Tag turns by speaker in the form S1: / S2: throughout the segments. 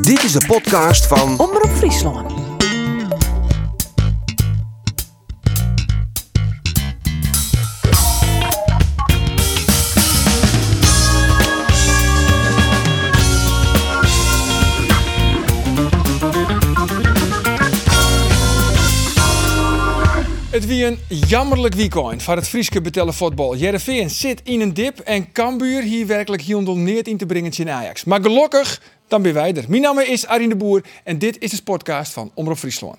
S1: Dit is de podcast van
S2: Omroep Friesland.
S3: Het wie een jammerlijk weekend voor het Frieske betellen voetbal. Jereveen zit in een dip en Cambuur hier werkelijk neert in te brengen in Ajax. Maar gelukkig, dan ben wij er. Mijn naam is Arine de Boer en dit is de podcast van Omroep Friesland.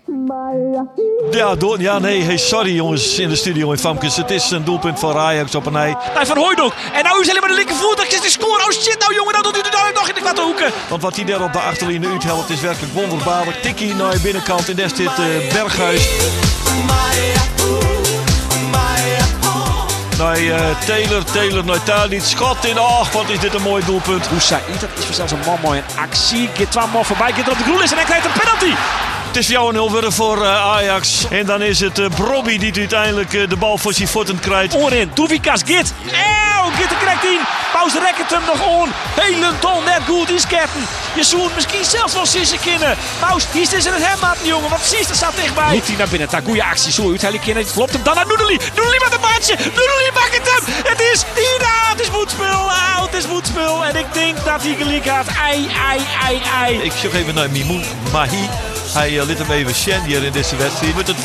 S4: Ja, door, ja, nee, hey, sorry jongens in de studio in Famkes. Het is een doelpunt van Ajax op een ei. Nee, van Hooydonk. En nou is helemaal de linkervoet. Dat is de score. Oh shit, nou jongen, nou doet u het daar nog in de kwatte hoeken. Want wat hij daar op de achterlijn uit helpt is werkelijk wonderbaarlijk. Tikkie naar de binnenkant en daar zit eh, Berghuis. Naar eh, Taylor, Taylor naar Tadic. Schot in. Och, wat is dit een mooi doelpunt.
S5: Saïd, dat is voor zelfs een man mooi een actie. Keer twee man voorbij, keer op de groen is en hij krijgt een penalty.
S4: Het is jouw 0 worden voor eh, Ajax. En dan is het eh Brobby die uiteindelijk eh, de bal voor zijn voeten krijgt.
S5: Oorin, Doevikas, Git. Eeuw, Git er krijgt in. Pauze rekkert hem nog on. Helendal net goed, die is captain. Je zoent misschien zelfs wel Sissen kennen. Pauze, die is dus in het hemmaat, jongen. Wat precies, er staat dichtbij. Moet hij naar binnen, daar goede actie. Zo uit, hij kennen. Het klopt hem dan naar Noedeli. Noedeli met een maatje. Noedeli maakt het hem. Het is Ida. Het is voetspel. Ah, het is voetspel. En ik denk dat hij gelijk gaat. Ei, ei, ei, ei.
S4: Ik zoek even naar Mimoen Mahi. Hij eh, liet hem even shen hier in deze wedstrijd. Wordt het 4-0?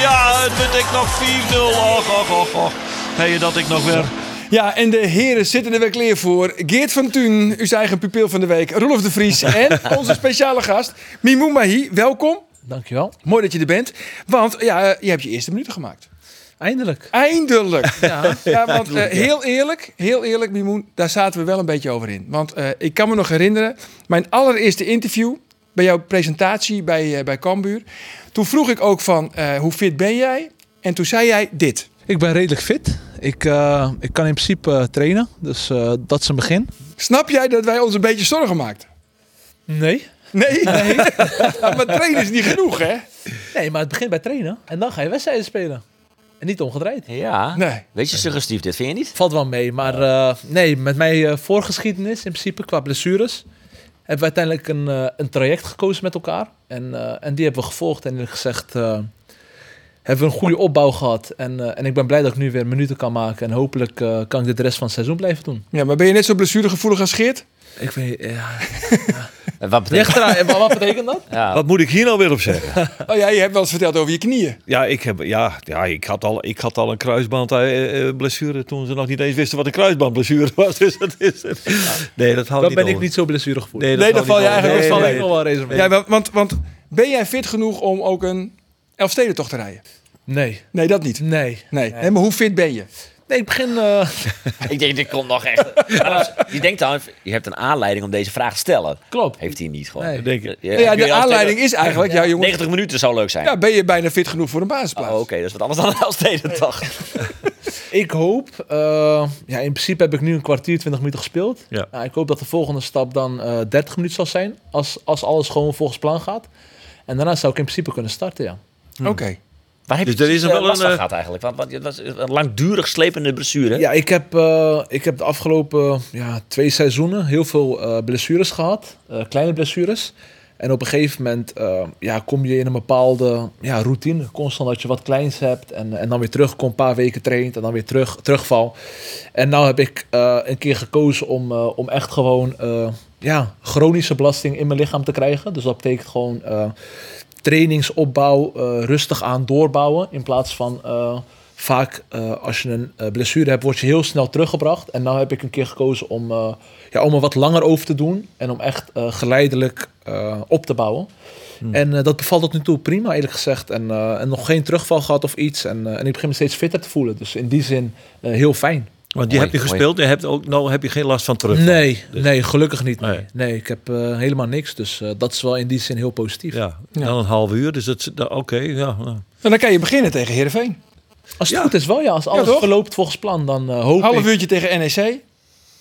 S4: Ja, het wordt ik nog 4-0. Och, och, och, och. Hey, dat ik nog weer.
S3: Ja, en de heren zitten er weer klaar voor. Geert van Thun, uw eigen pupil van de week. Rolf de Vries en onze speciale gast Mimou Mahi. Welkom.
S6: Dankjewel.
S3: Mooi dat je er bent. Want ja, eh, je hebt je eerste minuten gemaakt.
S6: Eindelijk.
S3: Eindelijk. Ja, want eh, heel eerlijk, heel eerlijk, Mimoen, daar zaten we wel een beetje over in. Want eh, ik kan me nog herinneren, mijn allereerste interview bij jouw presentatie bij, eh, bij Cambuur. Toen vroeg ik ook van, eh, hoe fit ben jij? En toen zei jij dit.
S6: Ik ben redelijk fit. Ik, eh, ik kan in principe eh, trainen. Dus eh, dat is een begin.
S3: Snap jij dat wij ons een beetje zorgen maakten?
S6: Nee.
S3: Nee, nee. maar trainen is niet genoeg, hè?
S6: Nee, maar het begint bij trainen. En dan ga je wedstrijden spelen. En niet omgedraaid.
S4: Ah?
S7: Ja.
S3: Nee.
S7: Weet je suggestief dit, vind je niet?
S6: Valt wel mee. Maar eh, nee, met mijn eh, voorgeschiedenis in principe qua blessures... hebben we uiteindelijk een, eh, een traject gekozen met elkaar. En, eh, en die hebben we gevolgd. En eerlijk gezegd eh, hebben we een goede opbouw gehad. En, eh, en ik ben blij dat ik nu weer minuten kan maken. En hopelijk eh, kan ik dit de rest van het seizoen blijven doen.
S3: Ja, maar ben je net zo blessuregevoelig als Geert?
S6: Ik weet... Ja,
S7: En Wat betekent
S6: Lichtra, wat wat betekent dat?
S7: ja.
S4: Wat moet ik hier nou weer op zeggen?
S3: Oh ja, je hebt wel eens verteld over je knieën.
S4: Ja, ik, heb, ja, ja, ik, had, al, ik had al een kruisbandblessure toen ze nog niet eens wisten wat een kruisbandblessure was. Dus dat is het. Nee, dat houdt
S6: Dan
S4: niet
S6: ben ik
S4: over.
S6: niet zo blessuregevoelig.
S4: Nee,
S3: Nee,
S4: houdt
S3: dan val je
S4: niet over.
S3: eigenlijk wel
S4: Nee,
S6: val
S4: nee,
S6: ik nog wel race mee.
S3: Ja, want, want ben jij fit genoeg om ook een Elfstedentocht te rijden?
S6: Nee,
S3: Nee, dat niet.
S6: nee.
S3: Nee. Hè, maar hoe fit ben je?
S6: Nee, ik begin... eh,
S7: Ik denk, dit komt nog echt. Je denkt dan, je hebt een aanleiding om deze vraag te stellen.
S6: klopt.
S7: Heeft hij niet gewoon.
S6: Nee.
S4: denk ik.
S7: Ja,
S3: Nou ja,
S7: kun je
S3: de
S7: als
S3: aanleiding is eigenlijk, ja,
S7: tegen-
S3: jongens,
S7: 90 minuten zou leuk zijn.
S3: ja, ben je bijna fit genoeg voor een basisplaats?
S7: Oh, Oké, dat is wat anders dan als deze dag.
S6: Ik hoop... eh, ja, in principe heb ik nu een kwartier, 20 minuten gespeeld.
S4: Ja.
S6: Nou, ik hoop dat de volgende stap dan eh 30 minuten zal zijn. Als, als alles gewoon volgens plan gaat. En daarna zou ik in principe kunnen starten, ja.
S3: Oké.
S7: Waar heb je
S4: Dus er is
S7: precies,
S4: nog
S7: eh,
S4: wel
S7: last van
S4: een, eh,
S7: gehad eigenlijk? Want, want het was een langdurig slepende blessure.
S6: Ja, ik heb, eh, ik heb de afgelopen ja, twee seizoenen heel veel eh, blessures gehad. eh, kleine blessures. En op een gegeven moment eh, ja, kom je in een bepaalde ja, routine. Constant dat je wat kleins hebt. En, en dan weer terugkomt, een paar weken traint. En dan weer terug, terugval. En nou heb ik eh, een keer gekozen om, eh, om echt gewoon eh, ja, chronische belasting in mijn lichaam te krijgen. Dus dat betekent gewoon eh, trainingsopbouw eh, rustig aan doorbouwen. In plaats van eh, vaak eh, als je een eh, blessure hebt, word je heel snel teruggebracht. En nou heb ik een keer gekozen om, eh, ja, om er wat langer over te doen. En om echt eh, geleidelijk eh, op te bouwen.
S4: Hmm.
S6: En eh, dat bevalt tot nu toe prima, eerlijk gezegd. En, eh, en nog geen terugval gehad of iets. En, eh, en ik begin me steeds fitter te voelen. Dus in die zin eh, heel fijn.
S4: Want die
S7: Mooi,
S4: heb je
S7: mooi.
S4: gespeeld en je hebt ook, nou heb je geen last van terug.
S6: Nee, nee, gelukkig niet. Nee,
S4: Dus- Nee.
S6: nee ik heb eh, helemaal niks. Dus eh, dat is wel in die zin heel positief.
S4: Ja, dan een half uur, dus dat, dat- oké, ja. ja.
S3: Nou, dan kan je beginnen tegen Heerenveen.
S6: Als het
S4: Ja.
S6: goed is wel, ja. Als alles
S3: toch?
S6: verloopt volgens plan, dan eh, hoop
S3: Half
S6: ik...
S3: uurtje tegen NEC.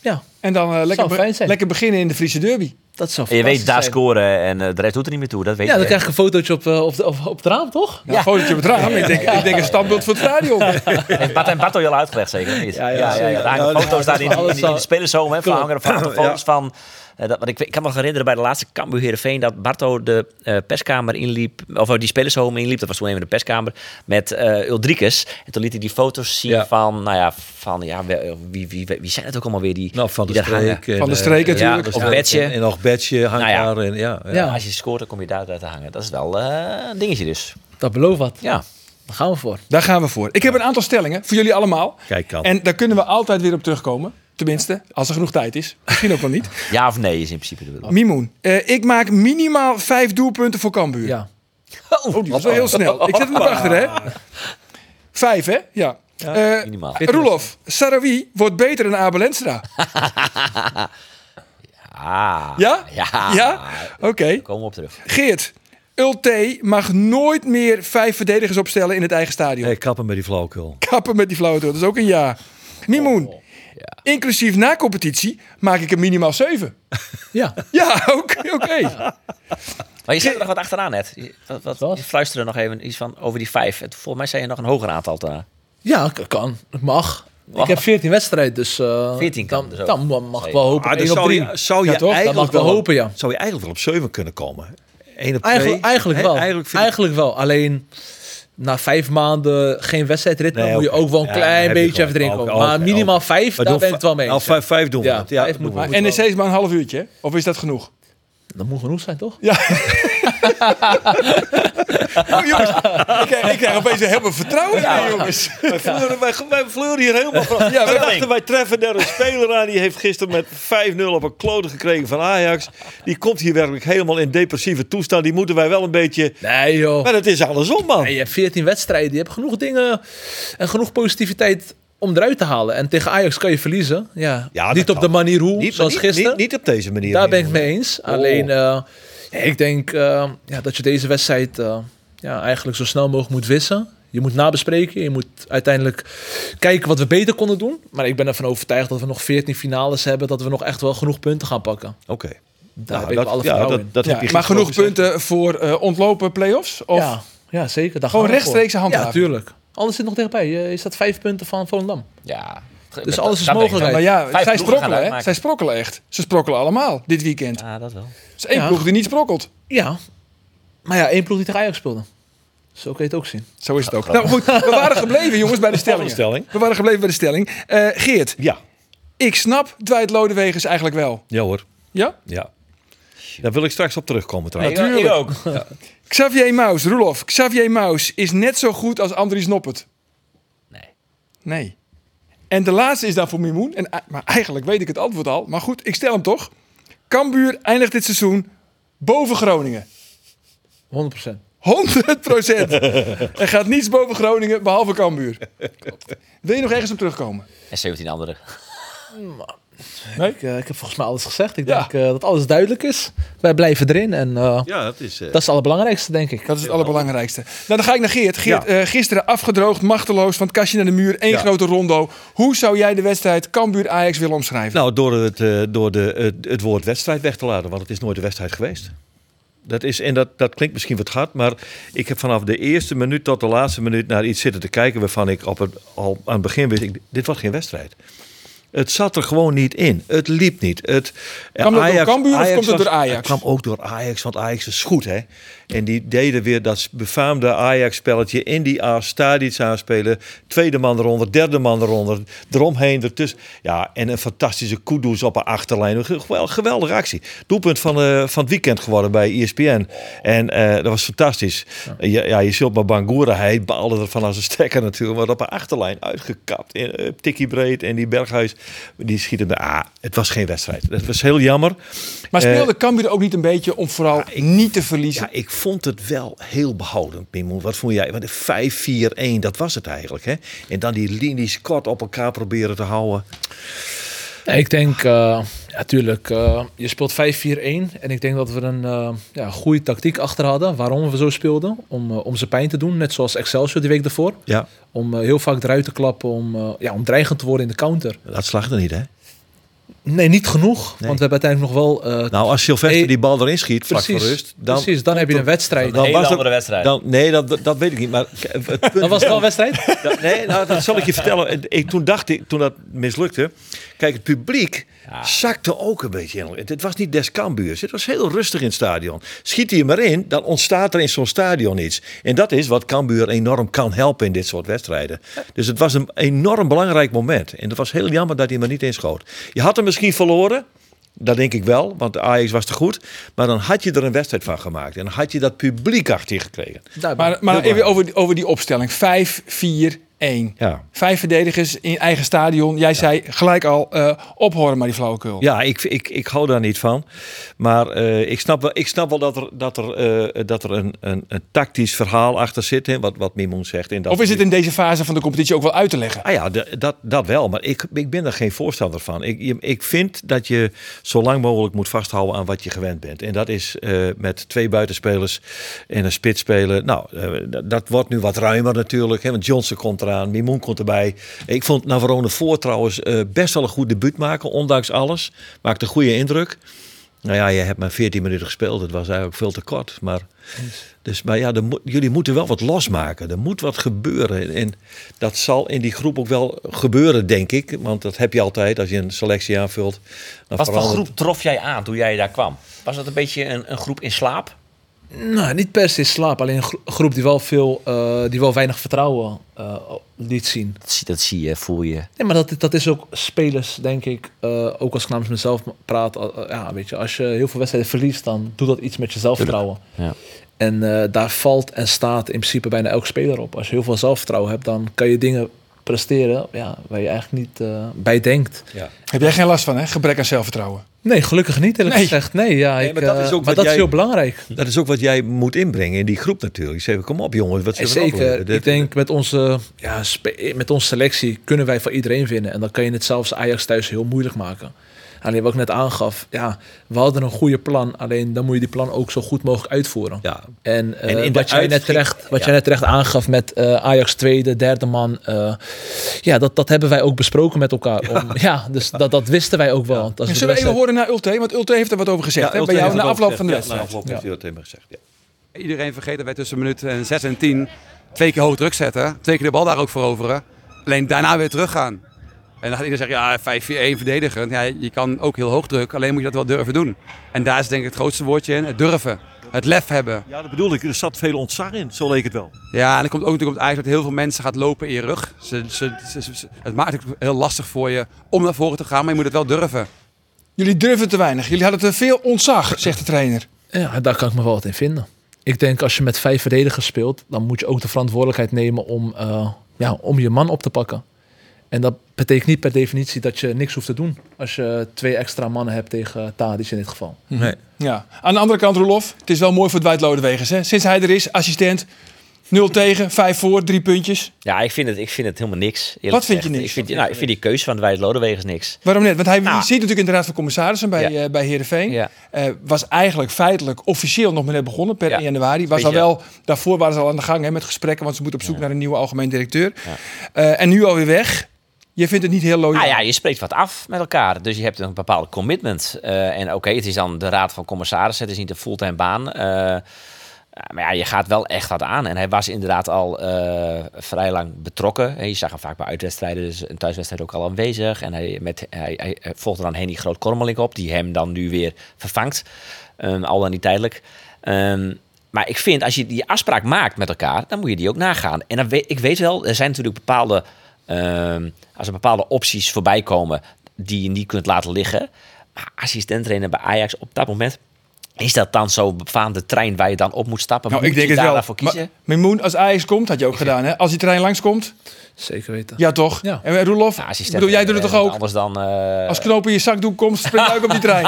S6: Ja,
S3: En dan eh, lekker,
S6: Zou
S3: be-
S6: fijn zijn.
S3: lekker beginnen in de Friese derby.
S6: dat zou
S7: En je weet
S6: fantastisch
S7: daar
S6: zijn.
S7: scoren en eh, de rest doet er niet meer toe. Dat weet
S6: Ja,
S7: je.
S6: dan krijg ik een fotootje op, eh, op, de- op, op het raam, toch?
S3: Nou, fotootje op het raam. Ik denk, ik denk een standbeeld voor het stadion.
S7: Heeft Bart en Bartel je al
S4: Nou,
S7: uitgelegd zeker? of niet? Ja, ja, ja. Daar hangen foto's daar in, in, in de spelershome, hè, van hangen er foto's van
S5: Eh, dat, want ik, weet- ik kan me nog herinneren bij de laatste Cambuur Heerenveen... dat Barto de eh, perskamer inliep, of eh, die spelershome inliep. Dat was toen even de perskamer met eh Uldrikus. En toen liet hij die foto's zien
S4: Ja.
S5: van, nou ja, van ja, wie, wie, wie, wie zijn het ook allemaal weer die
S4: Nou, van de
S5: die daar hangen?
S4: streek. en,
S3: Van de
S4: eh,
S3: streek
S4: en-
S3: natuurlijk.
S4: Van de
S5: Of
S4: Streek
S5: Betje.
S4: En, en nog Betje hangt
S5: Nou ja.
S4: daar. En, ja, ja.
S6: Ja.
S5: Als je scoort, dan kom je daar uit te hangen. Dat is wel eh, een dingetje dus.
S6: Dat belooft wat.
S5: Ja.
S6: Daar gaan we voor.
S3: Daar gaan we voor. Ik heb een aantal stellingen voor jullie allemaal.
S4: Kijk dan.
S3: En daar kunnen we altijd weer op terugkomen. Tenminste, als er genoeg tijd is. Misschien ook wel niet.
S5: ja of nee is in principe de bedoeling.
S3: Mimoen, eh, ik maak minimaal vijf doelpunten voor Cambuur.
S6: Ja.
S3: Dat is Oh, wel heel snel. Ik zet hem erachter, hè? Vijf, hè? Ja. Eh
S5: minimaal.
S3: Roelof, Sarawi wordt beter dan Abel Enstra.
S5: Ah,
S3: Ja?
S5: Ja.
S3: Ja? Oké.
S5: Komen we op terug.
S3: Geert, Ulte mag nooit meer vijf verdedigers opstellen in het eigen stadion.
S4: Hey, Eh, kappen met die flauwkul.
S3: Kappen met die flauwe toer, dat is ook een ja. Mimoen, inclusief na competitie maak ik er minimaal zeven.
S6: Ja.
S3: Ja, oké. oké.
S5: Maar je zit er nog wat achteraan net. Je, wat, wat,
S6: Wat?
S5: je fluisterde nog even iets van over die vijf. En volgens mij zei je nog een hoger aantal daarna.
S6: Ja, k- kan. Het mag.
S5: Mag.
S6: Ik heb 14 wedstrijden, dus... eh
S5: 14 kan
S6: dan,
S5: dus ook.
S6: dan mag ik wel hopen.
S4: Ah,
S6: op
S4: dus
S6: één op
S4: zou
S6: drie.
S4: je, zou je
S6: Ja, toch? Dat mag
S4: eigenlijk
S6: ik wel hopen, ja.
S4: Zou je eigenlijk wel op 7 kunnen komen? 1 op
S6: Eigenlijk,
S4: twee?
S6: eigenlijk
S4: Hè,
S6: wel.
S4: Eigenlijk
S6: Eigenlijk,
S4: vind ik-
S6: wel. Alleen na vijf maanden geen wedstrijdritme
S4: Nee,
S6: moet je
S4: oké.
S6: ook wel een
S4: Ja, dan
S6: klein
S4: heb je
S6: beetje
S4: gewoon-
S6: even erin
S4: oké,
S6: komen.
S4: oké,
S6: maar
S4: oké.
S6: minimaal vijf,
S4: Maar
S6: daar
S4: doen
S6: ben ik het wel mee.
S4: Nou,
S6: eens.
S4: vijf, vijf doen we
S6: Ja,
S4: het. Ja,
S6: vijf
S4: doen
S6: moet-
S4: we het.
S3: NEC is maar een half uurtje, hè? Of is dat genoeg?
S6: Dat moet genoeg zijn, toch?
S3: Oh, jongens, ik, krijg- ik krijg opeens heel veel vertrouwen in, jongens.
S4: Wij fleuren, wij, wij fleuren hier helemaal van.
S3: Ja,
S4: wij
S3: dat
S4: dachten, wij treffen daar een speler aan. Die heeft gisteren met 5-0 op een klote gekregen van Ajax. Die komt hier werkelijk helemaal in depressieve toestand. Die moeten wij wel een beetje...
S6: Nee, joh.
S4: Maar het is andersom, man.
S6: Nee, je hebt 14 wedstrijden. Je hebt genoeg dingen en genoeg positiviteit om eruit te halen. En tegen Ajax kan je verliezen. Ja,
S4: Ja, dat
S6: niet op
S4: kan.
S6: de manier hoe,
S4: Niet,
S6: zoals
S4: niet,
S6: gisteren.
S4: Niet, niet op deze manier.
S6: Daar ben ik het mee eens.
S4: Oh.
S6: Alleen, eh, ik denk eh, ja, dat je deze wedstrijd eh, ja, eigenlijk zo snel mogelijk moet wissen. Je moet nabespreken. Je moet uiteindelijk kijken wat we beter konden doen. Maar ik ben ervan overtuigd dat we nog 14 finales hebben. Dat we nog echt wel genoeg punten gaan pakken.
S4: Oké.
S6: Daar
S4: Nou,
S6: heb ik
S4: dat-
S6: alle
S4: ja,
S6: vertrouwen
S4: dat- dat
S3: Ja,
S4: heb je
S3: maar
S4: gisteren
S3: genoeg
S4: ook gezegd.
S3: punten voor eh, ontlopen play-offs?
S6: in.
S3: Of? Nou
S6: Ja, ja, zeker. Daar
S3: Gewoon
S6: gaan we voor.
S3: rechtstreekse handhaving.
S6: Ja, tuurlijk. Alles zit nog dichtbij. Je, je staat vijf punten van Volendam.
S5: Ja.
S6: Dus alles is
S5: Daar ben ik
S6: mogelijk.
S3: Nou ja,
S5: Vijf
S3: zij
S5: ploegen gaan
S3: sprokkelen, hè?
S5: uitmaken.
S3: Zij sprokkelen echt. Ze sprokkelen allemaal dit weekend.
S5: dan. Ja, dat wel.
S3: Er is één
S6: Ja.
S3: ploeg die niet sprokkelt.
S6: Ja. Maar ja, één ploeg die tegen Ajax speelde. Zo kun je het ook zien.
S3: Zo is het ook. Nou goed, we waren gebleven jongens bij de stelling.
S4: stelling.
S3: We waren gebleven bij de stelling. Eh, Geert,
S4: Ja.
S3: ik snap Dwight Lodewegens eigenlijk wel.
S4: Ja hoor.
S3: Ja?
S4: Ja. Daar wil ik straks op terugkomen
S5: Nee,
S4: trouwens.
S5: ik, ik ook.
S3: Xavier Maus, Roelof. Xavier Maus is net zo goed als Andries Noppert.
S5: Nee.
S3: Nee. En de laatste is dan voor Mimoen. En, eh, maar eigenlijk weet ik het antwoord al. Maar goed, ik stel hem toch. Kambuur eindigt dit seizoen boven Groningen.
S6: 100%.
S3: 100 procent. er gaat niets boven Groningen, behalve Cambuur. Wil je nog ergens op terugkomen?
S5: En 17 anderen.
S6: Ik, eh, ik heb volgens mij alles gezegd. Ik
S3: Ja.
S6: denk eh, dat alles duidelijk is. Wij blijven erin en eh,
S4: Ja, dat is... eh,
S6: dat is het allerbelangrijkste, denk ik.
S3: Dat is het allerbelangrijkste. Nou, dan ga ik naar Geert. Geert,
S4: Ja.
S3: eh, gisteren afgedroogd, machteloos, van het kastje naar de muur. één
S4: Ja.
S3: grote rondo. Hoe zou jij de wedstrijd Cambuur-Ajax willen omschrijven?
S4: Nou, door, het, eh, door de, het, het woord wedstrijd weg te laten, want het is nooit een wedstrijd geweest. Dat is, en dat, dat klinkt misschien wat hard, maar ik heb vanaf de eerste minuut tot de laatste minuut naar iets zitten te kijken waarvan ik op het, al aan het begin wist, ik, dit was geen wedstrijd. Het zat er gewoon niet in. Het liep niet. Het, eh,
S3: Kwam dat door Cambuur of komt het
S4: was-
S3: door Ajax?
S4: Het kwam ook door Ajax, want Ajax is goed, hè. En die deden weer dat befaamde Ajax-spelletje in die as, Tadic aanspelen. Tweede man eronder, derde man eronder, eromheen, ertussen. Ja, en een fantastische kudos op een achterlijn. Een ge- gewel- geweldige actie. Doelpunt van, eh, van het weekend geworden bij E ESPN. En eh, dat was fantastisch. Eh, Ja, ja, je zult maar Bangura, hij baalde ervan als een stekker natuurlijk. Maar op een achterlijn uitgekapt. En, eh, tikkie breed en die Berghuis, die schiet hem. Ah, het was geen wedstrijd. Het was heel jammer.
S3: maar
S4: eh,
S3: speelde Cambuur ook niet een beetje om vooral niet te verliezen?
S4: Ja, ik vond het wel heel behoudend, Mimoen. Wat vond jij? Want de 5-4-1, dat was het eigenlijk. Hè? En dan die linies kort op elkaar proberen te houden.
S6: Nee, ik denk, eh, natuurlijk, eh, je speelt 5-4-1. En ik denk dat we een eh, ja, goede tactiek achter hadden. Waarom we zo speelden. Om, eh, om ze pijn te doen. Net zoals Excelsior die week daarvoor.
S4: Ja,
S6: Om eh, heel vaak eruit te klappen. Om, eh, ja, om dreigend te worden in de counter.
S4: dat slaagde niet, hè?
S6: Nee, niet genoeg. Want we hebben uiteindelijk nog wel... eh,
S4: Nou, als Sylvester
S6: Eh,
S4: die bal erin schiet, vlak
S6: precies,
S4: voor rust. Dan,
S6: precies, dan heb je een wedstrijd.
S4: dan
S5: Hele
S4: was het-
S5: andere wedstrijd.
S4: Dan, nee, dat, dat weet ik niet. Maar k- het punt
S6: dan was het wel een wedstrijd?
S4: Dat- nee, nou, dat zal ik je vertellen. Ik, toen dacht ik, toen dat mislukte. Kijk, het publiek zakte ook een beetje in. Het, het was niet des Cambuurs. Het was heel rustig in het stadion. Schiet hij er maar in, dan ontstaat er in zo'n stadion iets. En dat is wat Cambuur enorm kan helpen in dit soort wedstrijden. Dus het was een enorm belangrijk moment. En het was heel jammer dat hij maar niet inschoot. Je had hem misschien verloren. Dat denk ik wel, want de Ajax was te goed. Maar dan had je er een wedstrijd van gemaakt. En dan had je dat publiek achter je gekregen.
S6: Nou,
S3: Maar, maar even over, die- over die opstelling. 5, 4, 1.
S4: Ja.
S3: Vijf verdedigers in eigen stadion. Jij zei gelijk al, eh ophoren maar die flauwekul.
S4: Ja, ik, ik, ik hou daar niet van. Maar eh, ik, snap wel, ik snap wel dat er, dat er, eh, dat er een, een, een tactisch verhaal achter zit. Hè, wat, wat Mimoen zegt. En dat
S3: Of is het in deze fase van de competitie ook wel uit te leggen?
S4: Ah ja, de- dat, dat wel. Maar ik, ik ben er geen voorstander van. Ik, je- ik vind dat je zo lang mogelijk moet vasthouden aan wat je gewend bent. En dat is eh, met twee buitenspelers en een spits spelen. Nou, eh, dat, dat wordt nu wat ruimer natuurlijk. Hè, want Johnson komt eraan, Mimoen komt erbij. Ik vond Navarone voor trouwens eh, best wel een goed debuut maken, ondanks alles. Maakt een goede indruk. Nou ja, je hebt maar 14 minuten gespeeld. Het was eigenlijk veel te kort. Maar, dus, maar ja, er moet- jullie moeten wel wat losmaken. Er moet wat gebeuren. En dat zal in die groep ook wel gebeuren, denk ik. Want dat heb je altijd als je een selectie aanvult. Dan
S5: Wat voor
S4: verandert-
S5: groep trof jij aan toen jij daar kwam? Was dat een beetje een, een groep in slaap?
S6: Nou, niet per se slaap. Alleen een gro- groep die wel, veel, eh, die wel weinig vertrouwen eh, liet zien.
S5: Dat zie, dat zie je, voel je.
S6: Nee, maar dat, dat is ook spelers, denk ik. eh, ook als ik namens mezelf praat. eh, eh, ja, weet je, als je heel veel wedstrijden verliest, dan doet dat iets met je zelfvertrouwen.
S5: Ja.
S6: En eh, daar valt en staat in principe bijna elk speler op. Als je heel veel zelfvertrouwen hebt, dan kan je dingen presteren ja, waar je eigenlijk niet eh, bij denkt.
S3: Heb jij geen last van, hè? Gebrek aan zelfvertrouwen.
S6: Nee, gelukkig niet eerlijk
S3: Nee.
S6: gezegd. Nee, ja, ik,
S4: maar dat is
S6: eh,
S4: ook
S6: maar
S4: wat
S6: dat
S4: jij-
S6: is heel belangrijk.
S4: Dat is ook wat jij moet inbrengen in die groep natuurlijk. Je zegt, kom op jongens, wat zullen we nou
S6: Zeker.
S4: proberen? Dit-
S6: ik denk met onze, ja, spe- met onze selectie kunnen wij van iedereen winnen. En dan kan je het zelfs Ajax thuis heel moeilijk maken. Alleen wat ik net aangaf, ja, we hadden een goede plan. Alleen dan moet je die plan ook zo goed mogelijk uitvoeren.
S4: Ja,
S6: En, eh,
S4: En in de
S6: wat, jij net
S4: uitschiet-
S6: terecht, wat
S4: ja.
S6: jij net terecht aangaf met eh, Ajax tweede, derde man. eh, ja, dat, dat hebben wij ook besproken met elkaar. Ja, om, ja dus Dat, dat wisten wij ook wel. Dat is
S3: Zullen
S6: de
S3: we even
S6: wedstrijd.
S3: horen naar Ulte? Want Ulte heeft er wat over gezegd. hè?
S4: Ulte
S3: Bij jou
S4: heeft
S3: na
S4: het
S3: afloop
S4: ook
S3: van de
S4: gezegd.
S3: wedstrijd.
S4: Ja, na afloop heeft hij dat tegen me gezegd, ja.
S8: Iedereen vergeet dat wij tussen minuut eh, 6 en 10 twee keer hoog druk zetten. Twee keer de bal daar ook veroveren. Alleen daarna weer teruggaan. En dan gaat iedereen zeggen, ja, 5-4-1 verdedigend. Ja, je kan ook heel hoog druk, alleen moet je dat wel durven doen. En daar is denk ik het grootste woordje in, het durven. Het lef hebben.
S4: Ja, dat bedoel ik. Er zat veel ontzag in, zo leek het wel.
S8: Ja, en dan komt ook natuurlijk op het ijs dat heel veel mensen gaat lopen in je rug. Ze, ze, ze- ze- ze- het maakt het heel lastig voor je om naar voren te gaan, maar je moet het wel durven.
S3: Jullie durven te weinig. Jullie hadden te veel ontzag, zegt de trainer.
S6: Ja, daar kan ik me wel wat in vinden. Ik denk als je met vijf verdedigers speelt, dan moet je ook de verantwoordelijkheid nemen om, eh, ja, om je man op te pakken. En dat betekent niet per definitie dat je niks hoeft te doen. Als je twee extra mannen hebt tegen Tadic in dit geval.
S3: Ja. Aan de andere kant, Roelof, het is wel mooi voor Dwight Lodewegens. Hè? Sinds hij er is, assistent, 0 tegen, 5 voor, 3 puntjes.
S5: Ja, ik vind het, ik vind het helemaal niks. eerlijk
S3: Wat vind je
S5: gezegd.
S3: niks?
S5: Ik vind, nou, ik vind die keuze van Dwight Lodewegens niks.
S3: Waarom net? Want hij
S5: Nou.
S3: zit natuurlijk in de Raad van Commissarissen bij,
S5: Ja.
S3: eh, bij Heerenveen.
S5: Ja.
S3: Eh, was eigenlijk feitelijk officieel nog maar net begonnen per
S5: Ja.
S3: 1 januari. Was al
S5: Beetje-
S3: wel, daarvoor waren ze al aan de gang hè, met gesprekken, want ze moeten op zoek naar een nieuwe algemeen directeur. Eh, en nu alweer weg. Je vindt het niet heel loyaal.
S5: Nou ja, je spreekt wat af met elkaar. Dus je hebt een bepaald commitment. Eh, en oké, het is dan de raad van commissarissen. Het is niet een fulltime baan. Eh, maar ja, je gaat wel echt wat aan. En hij was inderdaad al eh, vrij lang betrokken. En je zag hem vaak bij uitwedstrijden, dus een thuiswedstrijd ook al aanwezig. En hij, met, hij, hij hij volgde dan Henny Groot-Kormeling op, die hem dan nu weer vervangt. Ehm, al dan niet tijdelijk. Ehm, maar ik vind, als je die afspraak maakt met elkaar, dan moet je die ook nagaan. En dan weet, ik weet wel, er zijn natuurlijk bepaalde... ehm, als er bepaalde opties voorbij komen die je niet kunt laten liggen. Maar assistent-trainer bij Ajax op dat moment... Is dat dan zo'n befaamde trein waar je dan op moet stappen?
S3: Nou,
S5: moet
S3: ik denk
S5: je
S3: het
S5: daar
S3: wel.
S5: daarvoor kiezen?
S3: Maar, Mimoen, als Ajax komt, had je ook gedaan. Hè? Als die trein langskomt,
S6: Zeker weten.
S3: ja toch?
S6: Ja.
S3: En eh, Roelof,
S5: Nou, assistent-
S3: bedoel, jij doet het
S5: eh,
S3: toch ook?
S5: Anders dan... eh,
S3: Als knoop in je zakdoek komt, spring jij ook op die trein.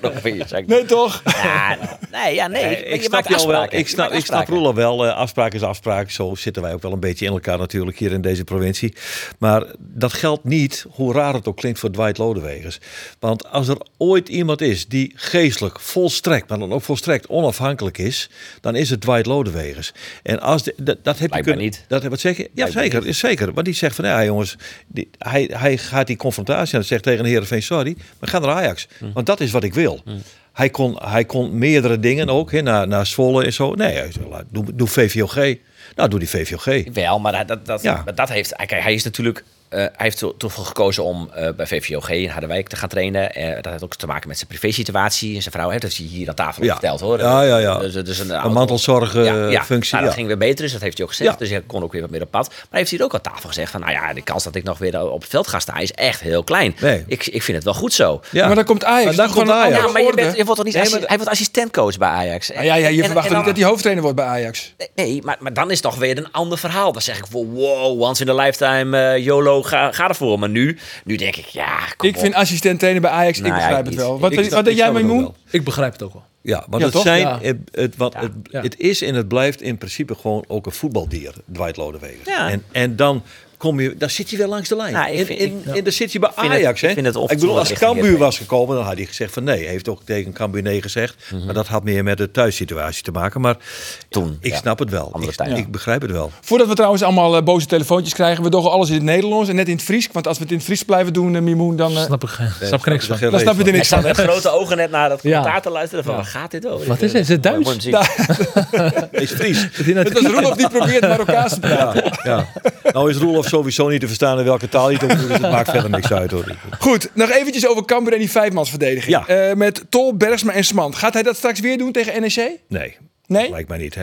S5: nog weer. Zeg.
S3: Nee, toch?
S5: Ja, nee, ja, nee.
S4: Nee,
S5: je
S4: Eh, ik,
S5: maakt
S4: snap jou wel,
S5: afspraken.
S4: ik
S5: Je
S4: snap,
S5: maakt
S4: ik snap
S5: afspraken.
S4: Roelof wel. Eh, afspraak is afspraak. Zo zitten wij ook wel een beetje in elkaar natuurlijk hier in deze provincie. Maar dat geldt niet, hoe raar het ook klinkt, voor Dwight Lodewegers. Want als er ooit iemand is die geestelijk volstrekt, maar dan ook volstrekt onafhankelijk is, dan is het Dwight Lodewegers. En als de- dat, dat heb je
S5: Blijkbaar
S4: kunnen,
S5: niet.
S4: Dat, wat zeg je? Ja,
S5: Blijkbaar
S4: zeker, is zeker. Want die zegt van, ja jongens, die, hij, hij gaat die confrontatie aan. Zegt tegen de Heerenveen, sorry, we gaan naar Ajax. Want dat is wat ik wil. Hij, kon, hij kon meerdere dingen ook, hè, naar, naar Zwolle en zo. Nee, hij zei, laat- doe, doe VVOG. Nou, doe die VVOG.
S5: Wel, maar dat, dat, dat,
S4: Ja.
S5: maar dat heeft... Kijk, hij is natuurlijk... eh, hij heeft er toch voor gekozen om eh, bij VVOG in Harderwijk te gaan trainen. Eh, dat heeft ook te maken met zijn privésituatie. En zijn vrouw heeft dat hij hier aan tafel
S4: Ja.
S5: verteld, hoor.
S4: Ja, ja, ja.
S5: Dus, dus een,
S4: Een mantelzorgfunctie. Ja, eh, functie,
S5: maar dat
S4: ja. Nou,
S5: ging weer beter, dus dat heeft hij ook gezegd.
S4: Ja.
S5: Dus hij kon ook weer wat meer op pad. Maar hij heeft hier ook aan tafel gezegd van... Nou ja, de kans dat ik nog weer op het veld ga staan is echt heel klein.
S4: Nee.
S5: Ik, ik vind het wel goed zo.
S4: Ja.
S3: Maar dan komt Ajax.
S4: Maar dan
S3: Gewoon
S4: komt
S3: een
S4: Ajax.
S3: andere
S5: Ja, maar je,
S3: orde.
S5: bent, je wordt toch niet assi- hij wordt assistentcoach bij Ajax.
S3: Ah, ja, ja, je
S5: En-
S3: verwacht
S5: en
S3: toch niet
S5: dan-
S3: dat hij hoofdtrainer wordt bij Ajax.
S5: Nee, maar, maar dan is het nog weer een ander verhaal. Dan zeg ik voor wow, once in a lifetime, eh, YOLO, ga, ga ervoor. Maar nu, nu denk ik, ja, kom
S3: ik
S5: op.
S3: vind assistent trainer bij Ajax,
S5: Nou
S3: ik
S5: ja,
S3: begrijp
S5: ik
S3: het
S5: niet.
S3: wel. Wat,
S4: Ik
S3: wat
S4: snap-
S3: denk
S4: ik
S3: jij,
S4: snap het ook
S3: Memoen?
S4: wel.
S6: Ik begrijp het ook wel.
S4: Ja, want
S3: Ja,
S4: het
S3: toch?
S4: zijn,
S6: Ja.
S4: het, het- wat, het,
S6: Ja.
S4: het is en het blijft in principe gewoon ook een voetbaldier, Dwight Lodewegers.
S5: Ja.
S4: En, en dan kom je, daar zit je weer langs de lijn.
S5: Ja, ik
S4: in,
S5: vind-
S4: in,
S5: ik-
S4: in, daar zit je bij
S5: vind het-
S4: Ajax.
S5: ik
S4: hè?
S5: vind het of-
S4: bedoel, als
S5: richting
S4: Cambuur
S5: Heerenveen.
S4: was gekomen, dan had hij gezegd van nee. Hij heeft ook tegen Cambuur nee gezegd. Maar dat had meer met de thuissituatie te maken. Maar
S5: Mhm. Toen,
S4: ik
S5: ja.
S4: snap het wel.
S5: Andere
S4: Ik,
S5: tijd.
S4: ik begrijp het wel.
S3: Voordat we trouwens allemaal eh, boze telefoontjes krijgen, we doggen alles in het Nederlands en net in het Fries. Want als we het in het Fries blijven doen, eh, Mimoen, dan, eh,
S6: Snap ik, geen- snap ik niks van.
S4: Geen
S3: dan snap je
S4: reet
S3: er
S5: Hij
S3: niks
S5: staat
S3: van.
S5: met grote ogen net naar dat
S6: Ja.
S5: commentaar te luisteren van, waar gaat dit over? Ik,
S6: Wat
S5: eh,
S6: is dit? Is het
S5: mooi-
S6: Duits?
S5: mooi zien.
S4: van. Is Fries.
S3: Het was Roelof die probeert Marokkaans te praten.
S4: Ja, ja. Nou is Roelof sowieso niet te verstaan in welke taal hij het ook doet. Dus het maakt verder niks uit hoor.
S3: Goed, nog eventjes over Cambuur en die vijfmansverdediging.
S4: Ja.
S3: Eh, met Tol, Bergsma en Smant. Gaat hij dat straks weer doen tegen E NEC?
S4: Nee,
S3: Nee?
S4: lijkt mij niet hè.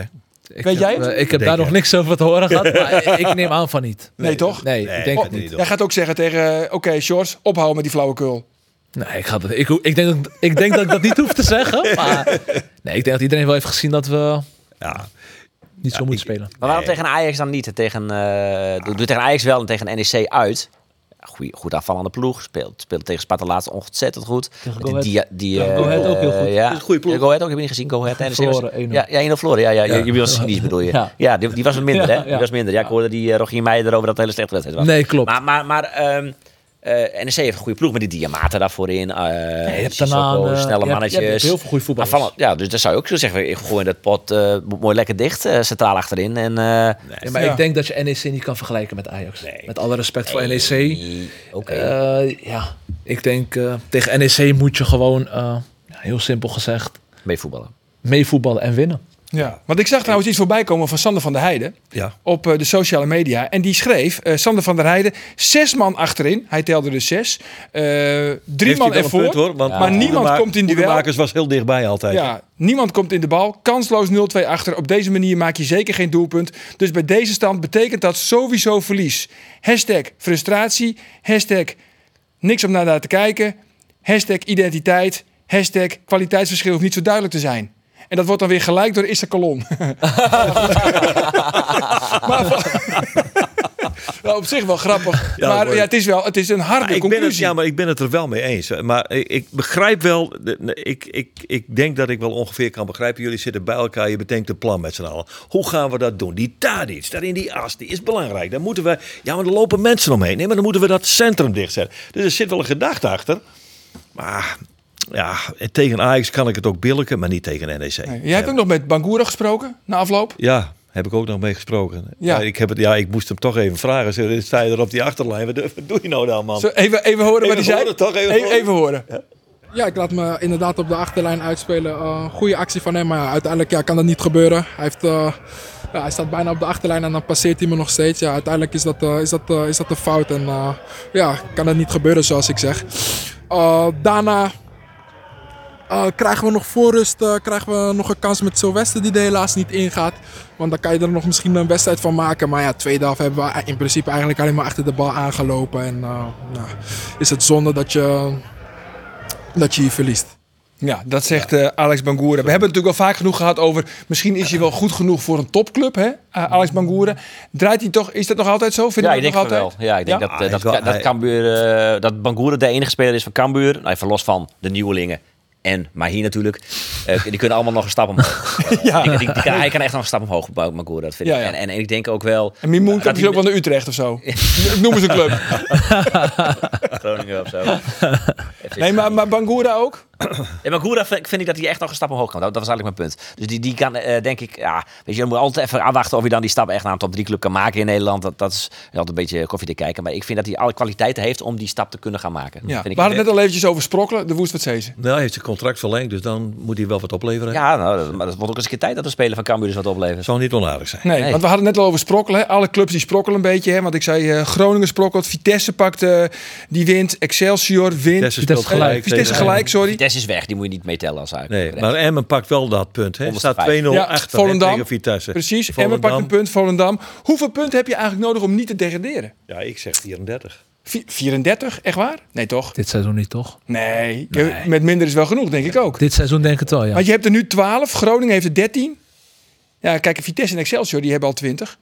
S3: Weet
S6: Ik heb,
S3: jij het?
S6: eh, ik heb
S4: Denk
S6: daar
S4: jij.
S6: nog niks over te horen gehad, maar ik neem aan van niet.
S3: Nee, oh, toch?
S6: Nee, ik denk
S4: dat
S6: het niet.
S4: hoor.
S3: Jij gaat ook zeggen tegen, eh, oké, Sjors, ophouden met die flauwekul.
S6: Nee, ik, ga dat, ik, ho- ik, denk, dat- ik denk dat ik dat niet hoef te zeggen, maar nee, ik denk dat iedereen wel heeft gezien dat we
S4: Ja,
S6: niet zo moeten spelen.
S5: Maar waarom tegen Ajax dan niet? En Tegen, eh, doe- Doe tegen Ajax wel en tegen NEC uit. Goeie, goed aanvallende ploeg. Speelt, speelt tegen Sparta laatst ontzettend goed.
S6: Tegen
S5: Die-
S6: Go
S5: die, die, eh,
S6: Go Ahead ook heel goed.
S5: Ja.
S4: is een goede ploeg.
S5: Ja, Go Ahead ook, heb je niet gezien. Go Ahead. NEC was-
S6: Verloren, 1-0.
S5: Ja, ja, 1-0 verloren. Ja, ja, Je, je was cynisch bedoel je. Ja,
S6: Ja.
S5: die, die was wat minder. hè?
S6: Ja,
S5: Die
S6: ja.
S5: was minder. Ja, ik hoorde die eh, Rogier Meijer erover dat het een hele slechte wedstrijd was.
S6: Nee, klopt.
S5: Maar, maar, maar ehm, eh, NEC heeft een goede ploeg met die Diamata daarvoor in. eh
S6: je hebt
S5: Sissoko,
S6: daarna een, eh, je hebt-
S5: snelle
S6: je hebt
S5: mannetjes.
S6: heel veel goede voetballers.
S5: Aanvallend- ja, dus daar zou je ook zo zeggen. Ik gooi dat pot eh, mooi lekker dicht, eh, centraal achterin. En, eh,
S6: Ja, maar
S3: Ja.
S6: ik denk dat je NEC niet kan vergelijken met Ajax. Met alle respect
S3: E
S6: voor NEC.
S5: Oké.
S6: Eh, ja, ik denk eh, tegen NEC moet je gewoon, eh, ja, heel simpel gezegd,
S5: Mee voetballen.
S6: meevoetballen en winnen.
S3: Ja. Want ik zag trouwens iets voorbij komen van Sander van der Heijden.
S4: ja.
S3: op eh, de sociale media. En die schreef, eh, Sander van der Heijden, zes man achterin. Hij telde er zes. Eh, drie
S4: Heeft
S3: man
S4: hij wel een
S3: ervoor.
S4: punt, hoor, want
S3: maar niemand
S4: Hoedema-
S3: komt in duel.
S4: Hoedemakers was heel dichtbij altijd.
S3: ja, niemand komt in de bal. Kansloos 0-2 achter. Op deze manier maak je zeker geen doelpunt. Dus bij deze stand betekent dat sowieso verlies. Hashtag frustratie. Hashtag niks om naar- naar te kijken. Hashtag identiteit. Hashtag kwaliteitsverschil hoeft niet zo duidelijk te zijn. En dat wordt dan weer gelijk door Issa Kalon. maar van- Nou, op zich wel grappig.
S4: Ja,
S3: maar
S4: mooi.
S3: ja, het is wel het is een harde
S4: Maar Ah, ik ben het,
S3: conclusie.
S4: ja, maar ik ben het er wel mee eens. Maar ik, ik begrijp wel, de- ik, ik, ik denk dat ik wel ongeveer kan begrijpen. Jullie zitten bij elkaar, je bedenkt een plan met z'n allen. Hoe gaan we dat doen? Die Tadic, daar in die as, die is belangrijk. Dan moeten we, ja, maar er lopen mensen omheen. Nee, maar dan moeten we dat centrum dichtzetten. Dus er zit wel een gedachte achter. Maar ja, tegen Ajax kan ik het ook billiken, maar niet tegen E NEC.
S3: Nee, Jij hebt ook nog met Bangura gesproken na afloop?
S4: Ja, heb ik ook nog mee gesproken.
S3: Ja.
S4: Ja. Ik, heb het, ja, ik moest hem toch even vragen. Zeg, Sta je er op die achterlijn? Wat wat doe je nou dan, man?
S3: Zo, even, even horen wat
S4: Even
S3: hij zei.
S4: horen, toch? Even
S3: Even-
S4: horen.
S3: even horen.
S9: Ja, ik laat me inderdaad op de achterlijn uitspelen. Eh, goede actie van hem, maar ja, uiteindelijk ja, kan dat niet gebeuren. Hij, heeft, eh, ja, hij staat bijna op de achterlijn en dan passeert hij me nog steeds. Ja, uiteindelijk is dat, eh, is dat, eh, is dat een fout en eh, ja, kan dat niet gebeuren zoals ik zeg. Eh, daarna eh, krijgen we nog voorrust, eh, krijgen we nog een kans met Sylvester die er helaas niet ingaat. Want dan kan je er nog misschien een wedstrijd van maken. Maar ja, tweede helft hebben we in principe eigenlijk alleen maar achter de bal aangelopen. En eh, nou, is het zonde dat je, dat je hier verliest.
S3: Ja, dat zegt eh, Alex Bangoura. We hebben het natuurlijk al vaak genoeg gehad over... misschien is hij wel goed genoeg voor een topclub, hè? Eh, Alex Bangoura. Draait hij toch... Is dat nog altijd zo? Vind
S5: Ja,
S3: je
S5: ik
S3: dat
S5: denk
S3: nog
S5: van
S3: altijd?
S5: wel. Ja, ik denk
S3: Ja?
S4: Ah,
S5: dat, eh,
S4: hij
S5: dat,
S4: is wel-
S5: dat
S4: hij-
S5: Cambuur, eh, dat Bangoeren de enige speler is van Cambuur. Nou, even los van de nieuwelingen en maar hier natuurlijk, eh, die kunnen allemaal nog een stap omhoog. Eh, die- die- die kan- hij kan echt nog een stap omhoog, Magura, dat vind ik.
S3: Ja, ja.
S5: En, en, en ik denk ook wel,
S3: En Mimoen kan
S5: Gaat hij-
S3: misschien ook wel naar Utrecht of zo. Ik noem eens een club.
S5: Groningen of zo.
S3: Nee, maar, maar Bangura ook?
S5: Ja, maar Goura vind vind ik dat hij echt nog een stap omhoog kan. Dat, dat was eigenlijk mijn punt. Dus die, die kan, eh, denk ik, ja, weet je, je moet altijd even afwachten of hij dan die stap echt naar een top 3 club kan maken in Nederland. Dat, dat is altijd een beetje koffie te kijken. Maar ik vind dat hij alle kwaliteiten heeft om die stap te kunnen gaan maken.
S3: Ja.
S5: Vind
S3: We
S5: ik-
S3: hadden het net al eventjes over Sprokkelen, de Woest wat Zeezen.
S4: Nou, hij heeft zijn contract verlengd, dus dan moet hij wel wat opleveren.
S5: ja, nou, dat, maar dat wordt ook eens een keer tijd dat de speler van Cambuur dus wat oplevert.
S4: Zou niet onaardig zijn.
S3: Nee,
S5: Nee.
S3: want we hadden het net al over sprokkelen. hè. Alle clubs die sprokkelen een beetje. Hè? Want ik zei eh, Groningen sprokkelt, Vitesse pakt, eh, die wint, Excelsior wint.
S4: Vitesse
S3: Eh,
S4: speelt gelijk.
S3: Vitesse
S4: tegen-
S3: gelijk, sorry.
S5: Des is weg, die moet je niet meetellen als eigenlijk.
S4: Nee, maar Emmen pakt wel dat punt. Hè. Staat 2-0
S5: 105.
S3: Ja,
S4: achter hè,
S3: Volendam.
S4: tegen Vitesse.
S3: Precies, Emmen
S4: Volendam.
S3: pakt een punt, Volendam. Hoeveel punten heb je eigenlijk nodig om niet te degraderen?
S4: Ja, ik zeg 34.
S3: Vi- 34, echt waar? Nee, toch?
S6: Dit seizoen niet, toch?
S3: Nee, je- met minder is wel genoeg, denk ik ook.
S6: Dit seizoen denk ik het wel, ja.
S3: Want je hebt er nu 12, Groningen heeft er 13. Ja, kijk, Vitesse en Excelsior, die hebben al 20.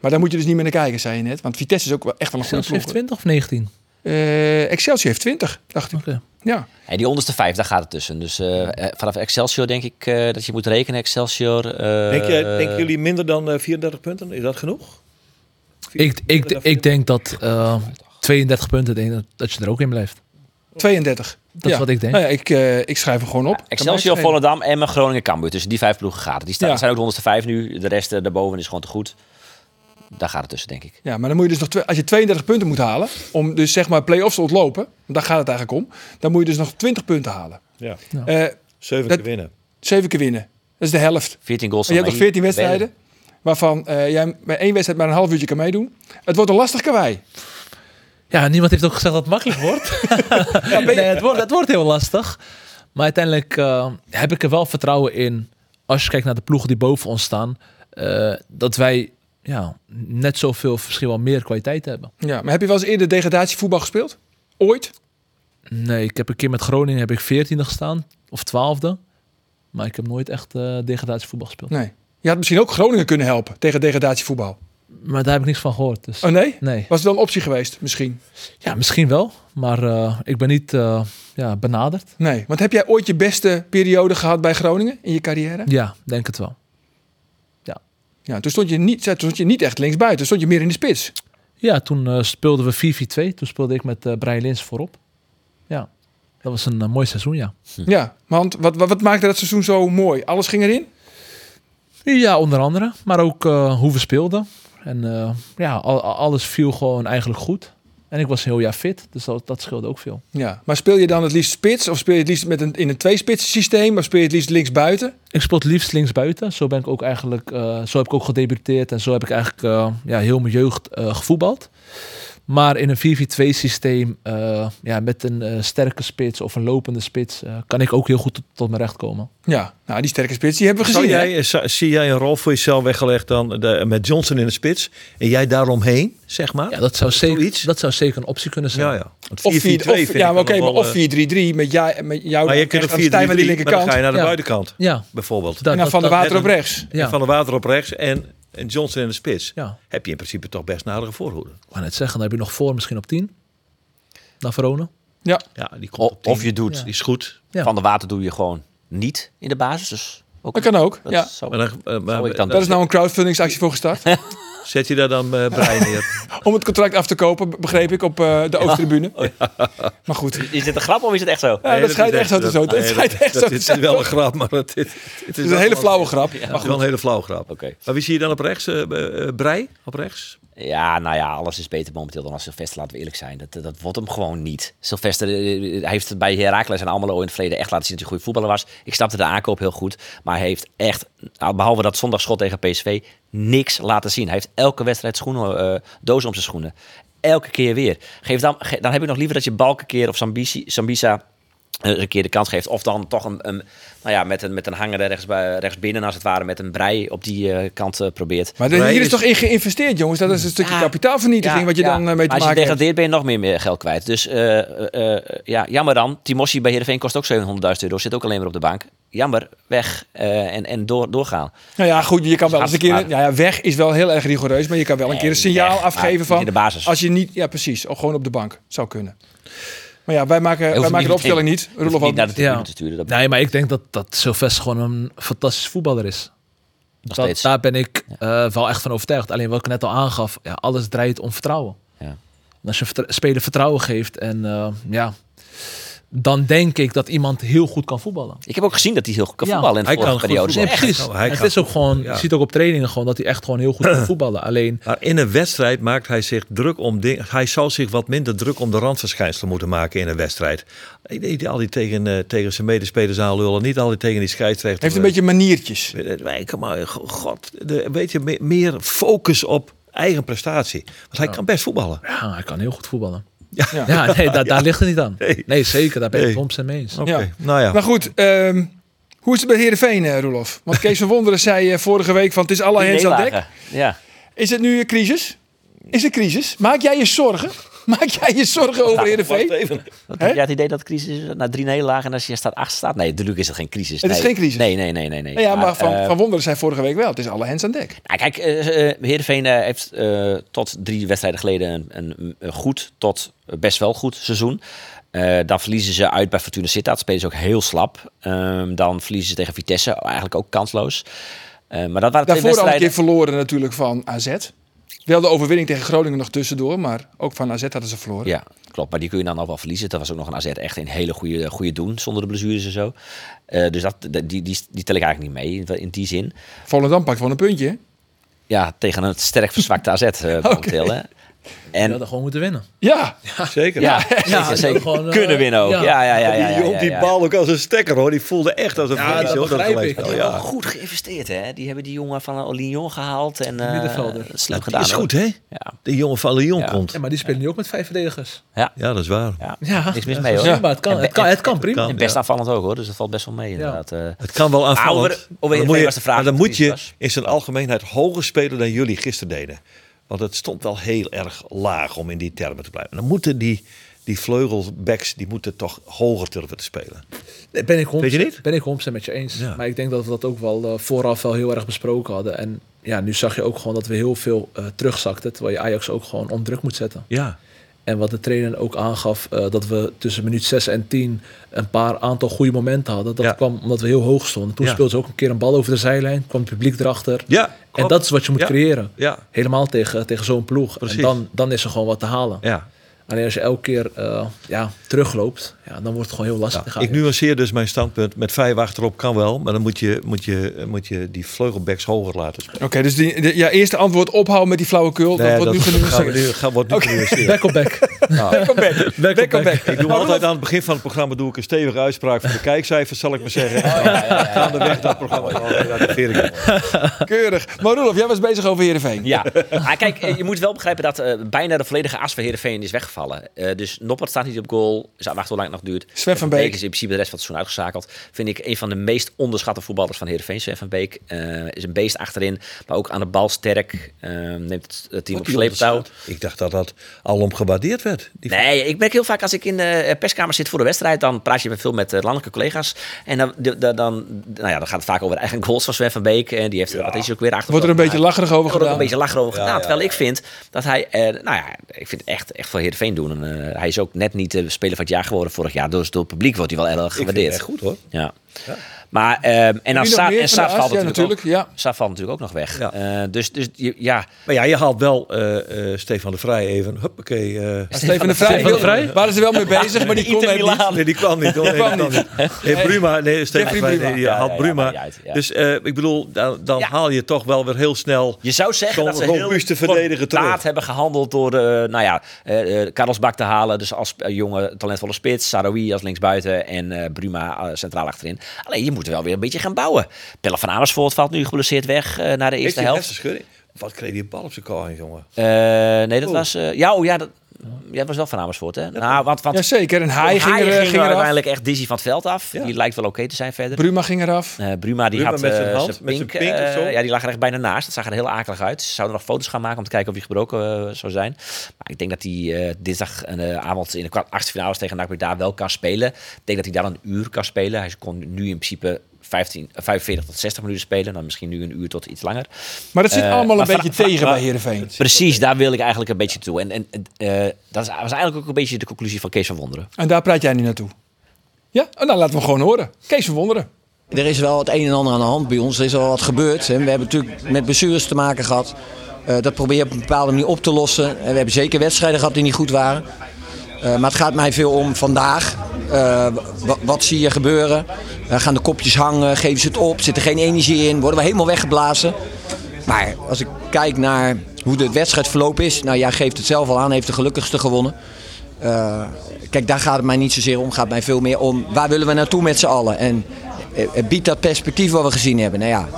S3: Maar daar moet je dus niet meer naar kijken, zei je net. Want Vitesse is ook wel echt wel een goede
S6: Zelfs
S3: ploeg.
S6: heeft
S3: hoor.
S6: 20 of 19.
S3: Eh, Excelsior heeft 20, dacht ik.
S6: Oké.
S3: Ja.
S5: En die onderste vijf, daar gaat het tussen. Dus eh, eh, vanaf Excelsior denk ik eh, dat je moet rekenen. Excelsior. eh,
S4: Denk je, denken jullie minder dan eh, 34 punten? Is dat genoeg?
S6: Ik, ik, ik denk dat eh, 32 punten, denk ik, dat je er ook in blijft.
S3: 32.
S6: Dat is wat ik denk.
S3: Nou ja, ik, eh, ik schrijf hem gewoon op.
S5: Excelsior,
S3: Kan mij
S5: Volendam, Emmen, Groningen, Cambuur. Tussen die vijf ploegen gaat het. Die staan,
S3: Ja.
S5: zijn ook de onderste vijf nu. De rest eh, daarboven is gewoon te goed. Daar gaat het tussen, denk ik.
S3: schelen. Ja, maar dan moet je dus nog twe- als je 32 punten moet halen om dus zeg maar play-offs te ontlopen, want daar gaat het eigenlijk om. Dan moet je dus nog 20 punten halen.
S4: Ja.
S3: Eh,
S4: Zeven
S3: Dat-
S4: keer winnen.
S3: zeven keer winnen. Dat is de helft.
S5: 14 goals.
S3: En je hebt
S5: van
S3: nog 14
S5: Mahi-
S3: wedstrijden, waarvan eh, jij bij één wedstrijd maar een half uurtje kan meedoen. Het wordt een lastig karwei.
S6: Ja, niemand heeft ook gezegd dat het makkelijk wordt. nee, het wordt, het wordt heel lastig. Maar uiteindelijk eh, heb ik er wel vertrouwen in, als je kijkt naar de ploegen die boven ons staan, eh, dat wij ja, net zoveel, misschien wel meer kwaliteit hebben.
S3: Ja, maar heb je wel eens eerder degradatievoetbal gespeeld? Ooit?
S6: Nee, ik heb een keer met Groningen heb ik 14e gestaan, of 12e. Maar ik heb nooit echt eh degradatievoetbal gespeeld.
S3: Nee. Je had misschien ook Groningen kunnen helpen tegen degradatievoetbal.
S6: Maar daar heb ik niks van gehoord. Dus.
S3: Oh nee?
S6: Nee.
S3: Was het wel een optie geweest, misschien?
S6: Ja, misschien wel. Maar eh, ik ben niet eh, ja, benaderd.
S3: Nee. Want heb jij ooit je beste periode gehad bij Groningen in je carrière?
S6: Ja, denk het wel.
S3: Ja, toen stond je niet, toen stond je niet echt linksbuiten. Toen stond je meer in de spits.
S6: Ja, toen eh, speelden we 4-4-2. Toen speelde ik met eh Brian Lins voorop. Ja, dat was een eh, mooi seizoen, ja.
S4: Hm.
S3: Ja, want wat, wat, wat maakte dat seizoen zo mooi? Alles ging erin?
S6: Ja, onder andere. Maar ook eh, hoe we speelden. En eh, ja, al- al- alles viel gewoon eigenlijk goed. En ik was een heel jaar fit, dus dat, dat scheelde ook veel.
S3: Ja. Maar speel je dan het liefst spits? Of speel je het liefst met een, in een tweespits systeem? Of speel je het liefst linksbuiten?
S6: Ik speel het liefst linksbuiten. Zo ben ik ook eigenlijk, eh, zo heb ik ook gedebuteerd en zo heb ik eigenlijk eh, ja, heel mijn jeugd eh, gevoetbald. Maar in een 4-4-2 systeem, eh, ja, met een eh, sterke spits of een lopende spits, eh, kan ik ook heel goed tot, tot mijn recht komen.
S3: Ja, nou die sterke spits die hebben we
S4: Zou
S3: gezien. hè?
S4: jij, eh, zou- zie jij een rol voor jezelf weggelegd dan eh, de- met Johnson in de spits en jij daaromheen, zeg maar?
S6: Ja, dat zou,
S4: Zoiets?
S6: zeker, dat zou zeker een optie kunnen zijn.
S4: ja. ja. Want
S3: Of
S4: 4-4-2
S3: vier- of-
S4: vind
S3: ja,
S4: ik
S3: maar
S4: dan
S3: oké,
S4: nog
S3: maar
S4: wel,
S3: of
S4: eh,
S3: 4-3-3 met jou, met jou
S4: Maar je
S3: dan
S4: kunt
S3: echt
S4: ook
S3: aan de stijl aan
S4: 4-3-3,
S3: die
S4: maar dan
S3: linkerkant.
S4: ga je naar de
S6: Ja.
S4: buitenkant,
S6: Ja,
S4: bijvoorbeeld.
S6: dat-
S3: en dan
S6: dat-
S3: van de
S6: dat-
S3: water op rechts.
S6: Ja,
S4: Van de water op rechts en, en Johnson in de spits.
S6: ja.
S4: Heb je in principe toch best nadere voorhoede.
S6: Ik wou net zeggen, dan heb je nog voor misschien op 10. Naar Verona.
S3: Ja,
S4: Ja, die komt
S5: O-
S4: op
S5: Of
S4: tien.
S5: je doet.
S4: Die is goed.
S6: Ja.
S5: Van de water doe je gewoon niet in de basis. Dus ook,
S3: dat kan ook.
S5: dat
S3: ja.
S5: zou-
S4: Maar dan, eh, maar-
S5: Zou ik dan-
S4: dan
S3: Dat is nou een crowdfundingsactie voor gestart.
S4: zet je daar dan eh Brian neer.
S3: om het contract af te kopen, be- begreep ik, op eh, de Oosttribune. Maar goed.
S5: Is dit een grap of is Oh, het echt zo?
S3: Ja, dat schijnt echt zo te zo. Dat
S4: nee,
S3: schijnt echt zo
S4: dat
S3: te
S4: is
S3: zijn.
S4: wel een grap, maar het, het, het
S3: Het is een hele flauwe grap.
S4: Maar wel een hele flauwe grap.
S5: Oké.
S4: Maar wie zie je dan op rechts? eh eh, eh, Brei op rechts?
S5: Ja, nou ja, alles is beter momenteel dan als Sylvester, laten we eerlijk zijn. Dat, dat wordt hem gewoon niet. Sylvester eh, hij heeft het bij Heracles en Almelo in het verleden echt laten zien dat hij een goede voetballer was. Ik snapte de aankoop heel goed, maar hij heeft echt, nou, behalve dat zondagschot tegen PSV, niks laten zien. Hij heeft elke wedstrijd schoenen, eh dozen om zijn schoenen. Elke keer weer. Geef dan, ge- dan heb ik nog liever dat je Balken keer of Sambici- Sambisa eh, een keer de kans geeft. Of dan toch een, een, nou ja, met, een, met een hanger rechts, bij- rechts binnen, als het ware, met een brei op die eh, kant eh, probeert.
S3: Maar
S4: Nee,
S3: hier is
S4: is-
S3: toch in geïnvesteerd, jongens? Dat is een stukje kapitaalvernietiging
S5: Ja,
S3: wat je
S5: ja.
S3: dan eh, mee te
S5: Maar als je
S3: maken hebt.
S5: degradeert ben je nog meer, meer geld kwijt. Dus eh, eh, eh, ja, jammer dan. Timossi bij Heerenveen kost ook 700.000 euro. Zit ook alleen maar op de bank. Jammer, weg eh, en, en door, doorgaan.
S3: Nou ja, goed, je kan wel eens een keer...
S5: Maar-
S3: Ja, ja, weg is wel heel erg rigoureus, maar je kan wel een keer een
S5: Nee,
S3: signaal
S5: weg, maar
S3: afgeven
S5: niet
S3: van...
S5: in de basis.
S3: Oh, Als je niet... Ja, precies. Of gewoon op de bank. Zou kunnen. Maar Maar ja, wij maken, wij
S5: hoeft
S3: maken de
S5: niet-
S3: opstelling niet.
S5: Hoef je
S3: Rolof
S5: niet naar de tribune
S6: Ja.
S5: te sturen. Dat
S6: Nee, maar ik denk dat, dat Sylvester gewoon een fantastisch voetballer is.
S5: nog
S6: Dat-
S5: steeds.
S6: daar ben ik eh, wel echt van overtuigd. Alleen wat ik net al aangaf, ja, alles draait om vertrouwen.
S5: Ja.
S6: En als je vertr- speler vertrouwen geeft, en, eh, ja, dan denk ik dat iemand heel goed kan voetballen.
S5: Ik heb ook gezien dat hij heel goed kan
S6: Ja,
S5: voetballen in de
S4: hij
S5: vorige
S4: kan goed
S5: periode.
S4: voetballen.
S5: Echt.
S6: precies.
S4: Nou, hij
S6: het
S4: kan
S6: is ook gewoon,
S4: ja.
S6: je ziet ook op trainingen gewoon dat hij echt gewoon heel goed kan voetballen. Alleen,
S4: Maar in een wedstrijd maakt hij zich druk om dingen. Hij zou zich wat minder druk om de randverschijnselen moeten maken in een wedstrijd. Ik denk niet al die tegen, eh, tegen zijn medespelers aanlullen, niet al die tegen die scheidsrechter.
S3: Heeft een beetje maniertjes.
S4: Nee, kom maar, go- god, de- weet je, me- meer focus op eigen prestatie. Want hij kan best voetballen.
S6: ja, Ah, hij kan heel goed voetballen. Ja, nee, daar, daar ligt het niet aan.
S4: Nee.
S6: Nee, zeker, daar ben ik
S4: Nee.
S6: het 100% mee eens.
S4: Oké,
S3: Ja.
S4: nou ja.
S3: Maar goed, ehm, hoe is het bij Heerenveen, eh, Roelof? Want Kees van Wonderen zei eh, vorige week van het is alle
S5: Die
S3: hens aan dek.
S5: nederlagen. Ja.
S3: Is het nu een crisis? Is het crisis? Maak jij je zorgen? Maak jij je zorgen
S5: Nou,
S3: over Heerenveen?
S5: Wat,
S3: Hè?
S5: heb jij het idee dat het crisis is? Na drie nederlagen en als je staat acht staat? Nee, natuurlijk is het geen crisis.
S3: Het is
S5: nee.
S3: geen crisis.
S5: Nee, nee, nee. nee, nee.
S3: Nou ja, maar
S5: eh,
S3: van, van Wonderen zei vorige week wel, het is alle hens aan dek.
S5: Nou, kijk, eh eh, Heerenveen eh, heeft eh, tot drie wedstrijden geleden een, een, een goed tot best wel goed seizoen. Eh, dan verliezen ze uit bij Fortuna Sittard. Spelen ze ook heel slap. Ehm, dan verliezen ze tegen Vitesse. Eigenlijk ook kansloos. Eh, maar dat waren twee
S3: Daarvoor al een
S5: wedstrijden.
S3: keer verloren natuurlijk van AZ. Wel de overwinning tegen Groningen nog tussendoor, maar ook van AZ hadden ze verloren.
S5: Ja, klopt. Maar die kun je dan ook wel verliezen. Dat was ook nog een AZ echt een hele goede, goede doen. Zonder de blessures en zo. Eh, dus dat, die, die, die tel ik eigenlijk niet mee in, in die zin.
S3: Volendam pakt wel een puntje. hè?
S5: Ja, tegen een sterk verzwakte AZ eh momenteel. Hè?
S6: Je
S5: En
S6: hadden gewoon moeten winnen.
S3: Ja,
S4: Zeker.
S5: ja, zeker,
S6: Ja, dat
S5: zeker.
S6: gewoon, eh,
S5: kunnen winnen ook. Ja,
S6: ja.
S5: ja, ja. ja, ja,
S4: die hield
S5: ja,
S4: die
S5: ja.
S4: bal ook als een stekker hoor. Die voelde echt als een vlees,
S6: dat
S4: hoor,
S6: begrijp ik.
S4: gelijkspel,
S5: Die hebben
S4: Ja.
S5: ook goed geïnvesteerd, hè? Die hebben die jongen van eh, Lyon gehaald en eh,
S6: Middenvelder.
S5: slim
S4: Dat
S5: gedaan.
S4: is
S5: hoor.
S4: goed hè?
S5: Ja,
S4: Die jongen van Lyon
S5: Ja.
S4: komt.
S6: Ja, maar die spelen nu ook met vijf verdedigers.
S4: Ja, dat is waar.
S5: ja.
S6: Ja,
S5: niks mis
S6: ja,
S5: mee hoor.
S6: Maar het kan,
S5: En-
S6: het kan, het kan prima.
S4: kan.
S5: En best
S4: Ja.
S5: aanvallend ook hoor, dus dat valt best wel mee inderdaad. eh.
S4: Het kan wel aanvallend.
S5: Ouder-
S4: Maar
S5: of
S4: dan
S5: je-
S4: moet je,
S5: was de vraag
S4: maar dan
S5: of het
S4: moet
S5: iets
S4: je
S5: was.
S4: in zijn algemeenheid hoger spelen dan jullie gisteren deden. Want het stond wel heel erg laag om in die termen te blijven. Dan moeten die, die vleugelbacks die moeten toch hoger durven te spelen.
S6: Nee, ben ik 100%,
S4: Weet je niet?
S6: Ben ik 100% met je eens.
S4: Ja.
S6: Maar ik denk dat we dat ook wel eh, vooraf wel heel erg besproken hadden. En ja, nu zag je ook gewoon dat we heel veel eh, terugzakten. Terwijl je Ajax ook gewoon onder druk moet zetten.
S4: Ja.
S6: En wat de trainer ook aangaf, eh, dat we tussen minuut 6 en 10 een paar aantal goede momenten hadden. Dat
S4: Ja.
S6: kwam omdat we heel hoog stonden. Toen
S4: Ja.
S6: speelden ze ook een keer een bal over de zijlijn. kwam het publiek erachter.
S4: Ja,
S6: en
S4: klopt.
S6: dat is wat je moet
S4: Ja.
S6: creëren.
S4: Ja,
S6: Helemaal tegen, tegen zo'n ploeg.
S4: Precies.
S6: En dan, dan is er gewoon wat te halen.
S4: ja.
S6: Alleen als je elke keer eh, ja, terugloopt, ja, dan wordt het gewoon heel lastig.
S4: Ja, ik nuanceer dus mijn standpunt. Met vijf achterop kan wel, maar dan moet je, moet je, moet je die vleugelbacks hoger laten spelen.
S3: oké, dus die, de- ja, eerste antwoord ophouden met die flauwekul. dat wordt nu
S4: gaan we
S3: genuanceerd.
S4: nu- gaan- wordt nu genuanceerd.
S6: Back op back.
S3: Back on back. Back on back.
S4: Ik doe altijd aan het begin van het programma doe ik een stevige uitspraak van de kijkcijfers, zal ik maar zeggen. Gaandeweg dat programma. Oh, Ja, dat vind ik.
S3: Keurig. Maar Roelof, jij was bezig over Heerenveen.
S5: Ja, maar kijk, eh, je moet wel begrijpen dat eh, bijna de volledige as van Heerenveen is weggevallen. Eh, dus Noppert staat niet op goal, is wacht hoe lang het nog duurt.
S3: Sven van
S5: Beek
S3: Beek.
S5: is in principe de rest van het seizoen uitgeschakeld. Vind ik een van de meest onderschatte voetballers van Heerenveen, Sven van Beek. Eh, is een beest achterin, maar ook aan de bal sterk. Eh, neemt het team op sleeptouw.
S4: Ik dacht dat dat alom gewaardeerd werd. Die
S5: Nee, ik merk heel vaak als ik in de perskamer zit voor de wedstrijd, dan praat je met veel met eh, landelijke collega's. En dan, de- de- dan, nou ja, dan gaat het vaak over de eigen goals van Sven van Beek. En die heeft, wat is hij ook weer achter.
S3: Wordt er een beetje lacherig over
S5: Er wordt ook
S3: gedaan.
S5: een beetje lachen over gedaan. terwijl ik vind dat hij, eh, nou ja, ik vind het echt, echt voor Heerenveen doen. En, eh, hij is ook net niet de speler van het jaar geworden vorig jaar. Dus door het publiek wordt hij wel erg
S4: Ik vind het
S5: gewaardeerd.
S4: echt goed hoor.
S5: Ja. Maar, ehm, en dan
S3: nog
S5: Saar,
S3: meer
S5: en
S3: van de
S5: Saar
S3: as?
S5: valt
S3: Ja,
S5: natuurlijk, ook,
S3: natuurlijk, ja.
S5: Saar valt natuurlijk ook nog weg.
S4: Ja.
S5: Eh, dus, dus je- ja,
S4: Maar ja, je haalt wel eh, eh, Stefan de Vrij even. Huppakee. eh
S3: Steven de Vrij,
S6: Steven de Vrij?
S3: heel- waren ze wel mee bezig, maar die kon hij niet.
S4: nee, die kwam niet. Hoor. Nee, die kwam niet. Nee, Bruma. Nee, Stefan de
S3: Jeffrey
S4: Vrij.
S3: Bruma.
S4: Nee, je
S5: Ja,
S4: haalt
S5: ja, ja,
S4: Bruma.
S5: maar uit, ja.
S4: Dus eh, ik bedoel, dan, dan
S5: Ja.
S4: haal je toch wel weer heel snel.
S5: Je zou zeggen
S4: Zo'n
S5: dat ze heel
S4: robuuste verdediger terug.
S5: kordaat hebben gehandeld door eh nou ja, eh, eh, Karels Bak te halen. Dus als eh, jonge talentvolle spits. Saroui als linksbuiten en eh, Bruma eh, centraal achterin. Alleen je moet er wel weer een beetje gaan bouwen. Pelle van Amersfoort valt nu geblesseerd weg eh, naar de
S4: Heeft
S5: eerste
S4: hij een
S5: helft.
S4: hersenschudding? Wat kreeg die bal op zijn kar, jongen?
S5: Eh, nee, dat was... eh, ja, oh ja, dat, ja, dat was wel van Amersfoort. Hè? Nou, want, want
S3: Jazeker, en Haai
S5: Haaien
S3: ging er, eh, ging er af.
S5: uiteindelijk echt Dizzy van het veld af. Die lijkt wel oké te zijn verder.
S3: Bruma ging eraf.
S5: Eh, Bruma die
S4: Bruma
S5: had
S4: met zijn
S5: eh,
S4: hand,
S5: zijn
S4: met
S5: pink,
S4: zijn pink of
S5: eh,
S4: zo.
S5: ja, die lag er echt bijna naast. Dat zag er heel akelig uit. Ze zouden nog foto's gaan maken om te kijken of die gebroken eh, zou zijn. Maar ik denk dat hij eh, dinsdag een eh, avond in de kwart- achtste finales tegen NAC daar wel kan spelen. Ik denk dat hij daar een uur kan spelen. Hij kon nu in principe 15, eh, 45 tot 60 minuten spelen. Dan misschien nu een uur tot iets langer.
S3: Maar dat zit
S5: Eh,
S3: allemaal een
S5: maar
S3: beetje
S5: vra-
S3: tegen
S5: maar-
S3: bij Heerenveen.
S5: Precies, daar wil ik eigenlijk een beetje toe. En, en eh, dat is- was eigenlijk ook een beetje de conclusie van Kees van Wonderen.
S3: En daar praat jij nu naartoe. Ja? Oh, nou, laten we hem gewoon horen. Kees van Wonderen.
S1: Er is wel het een en ander aan de hand bij ons. Er is al wat gebeurd. En we hebben natuurlijk met blessures te maken gehad. Eh, dat probeer je op een bepaalde manier op te lossen. En we hebben zeker wedstrijden gehad die niet goed waren. Eh, maar het gaat mij veel om vandaag. Eh, wa- wat zie je gebeuren? Eh, gaan de kopjes hangen? Geven ze het op? Zit er geen energie in? Worden we helemaal weggeblazen? Maar als ik kijk naar hoe de wedstrijdverloop is. Nou, jij geeft het zelf al aan. Heeft de gelukkigste gewonnen. Eh, kijk, daar gaat het mij niet zozeer om. gaat mij veel meer om waar willen we naartoe met z'n allen. En eh, eh, biedt dat perspectief wat we gezien hebben. Nou ja,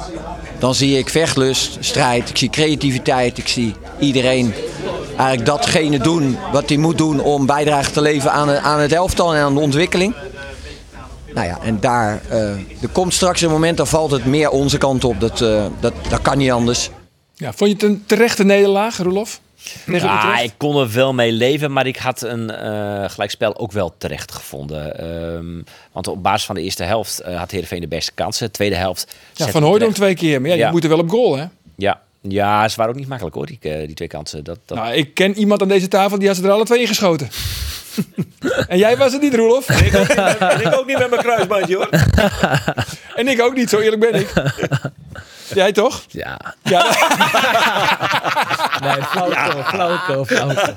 S1: dan zie ik vechtlust, strijd, ik zie creativiteit, ik zie iedereen eigenlijk datgene doen wat hij moet doen om bijdrage te leveren aan, het- aan het elftal en aan de ontwikkeling. Nou ja, en daar, eh, er komt straks een moment, dan valt het meer onze kant op. Dat, eh, dat, dat kan niet anders.
S3: Ja, vond je het een terechte nederlaag, Roelof? Tegen
S5: Ja,
S3: Utrecht?
S5: Nou, ik kon er wel mee leven, maar ik had een eh, gelijkspel ook wel terecht gevonden. Ehm, want op basis van de eerste helft eh, had Heerenveen de beste kansen. Tweede helft...
S3: Ja,
S5: zette
S3: van Hooydonk
S5: Utrecht-
S3: twee keer. Maar ja, die
S5: Ja.
S3: moeten wel op goal, hè?
S5: Ja. ja, ze waren ook niet makkelijk hoor, die, eh, die twee kansen. Dat, dat...
S3: Nou, ik ken iemand aan deze tafel die had ze er alle twee ingeschoten. en jij was het niet, Roelof.
S4: En ik ook niet met mijn kruisbandje hoor.
S3: En ik ook niet, zo eerlijk ben ik. jij toch?
S6: Ja.
S3: Ja,
S6: Nee, flauwekul, flauwekul, flauwekul.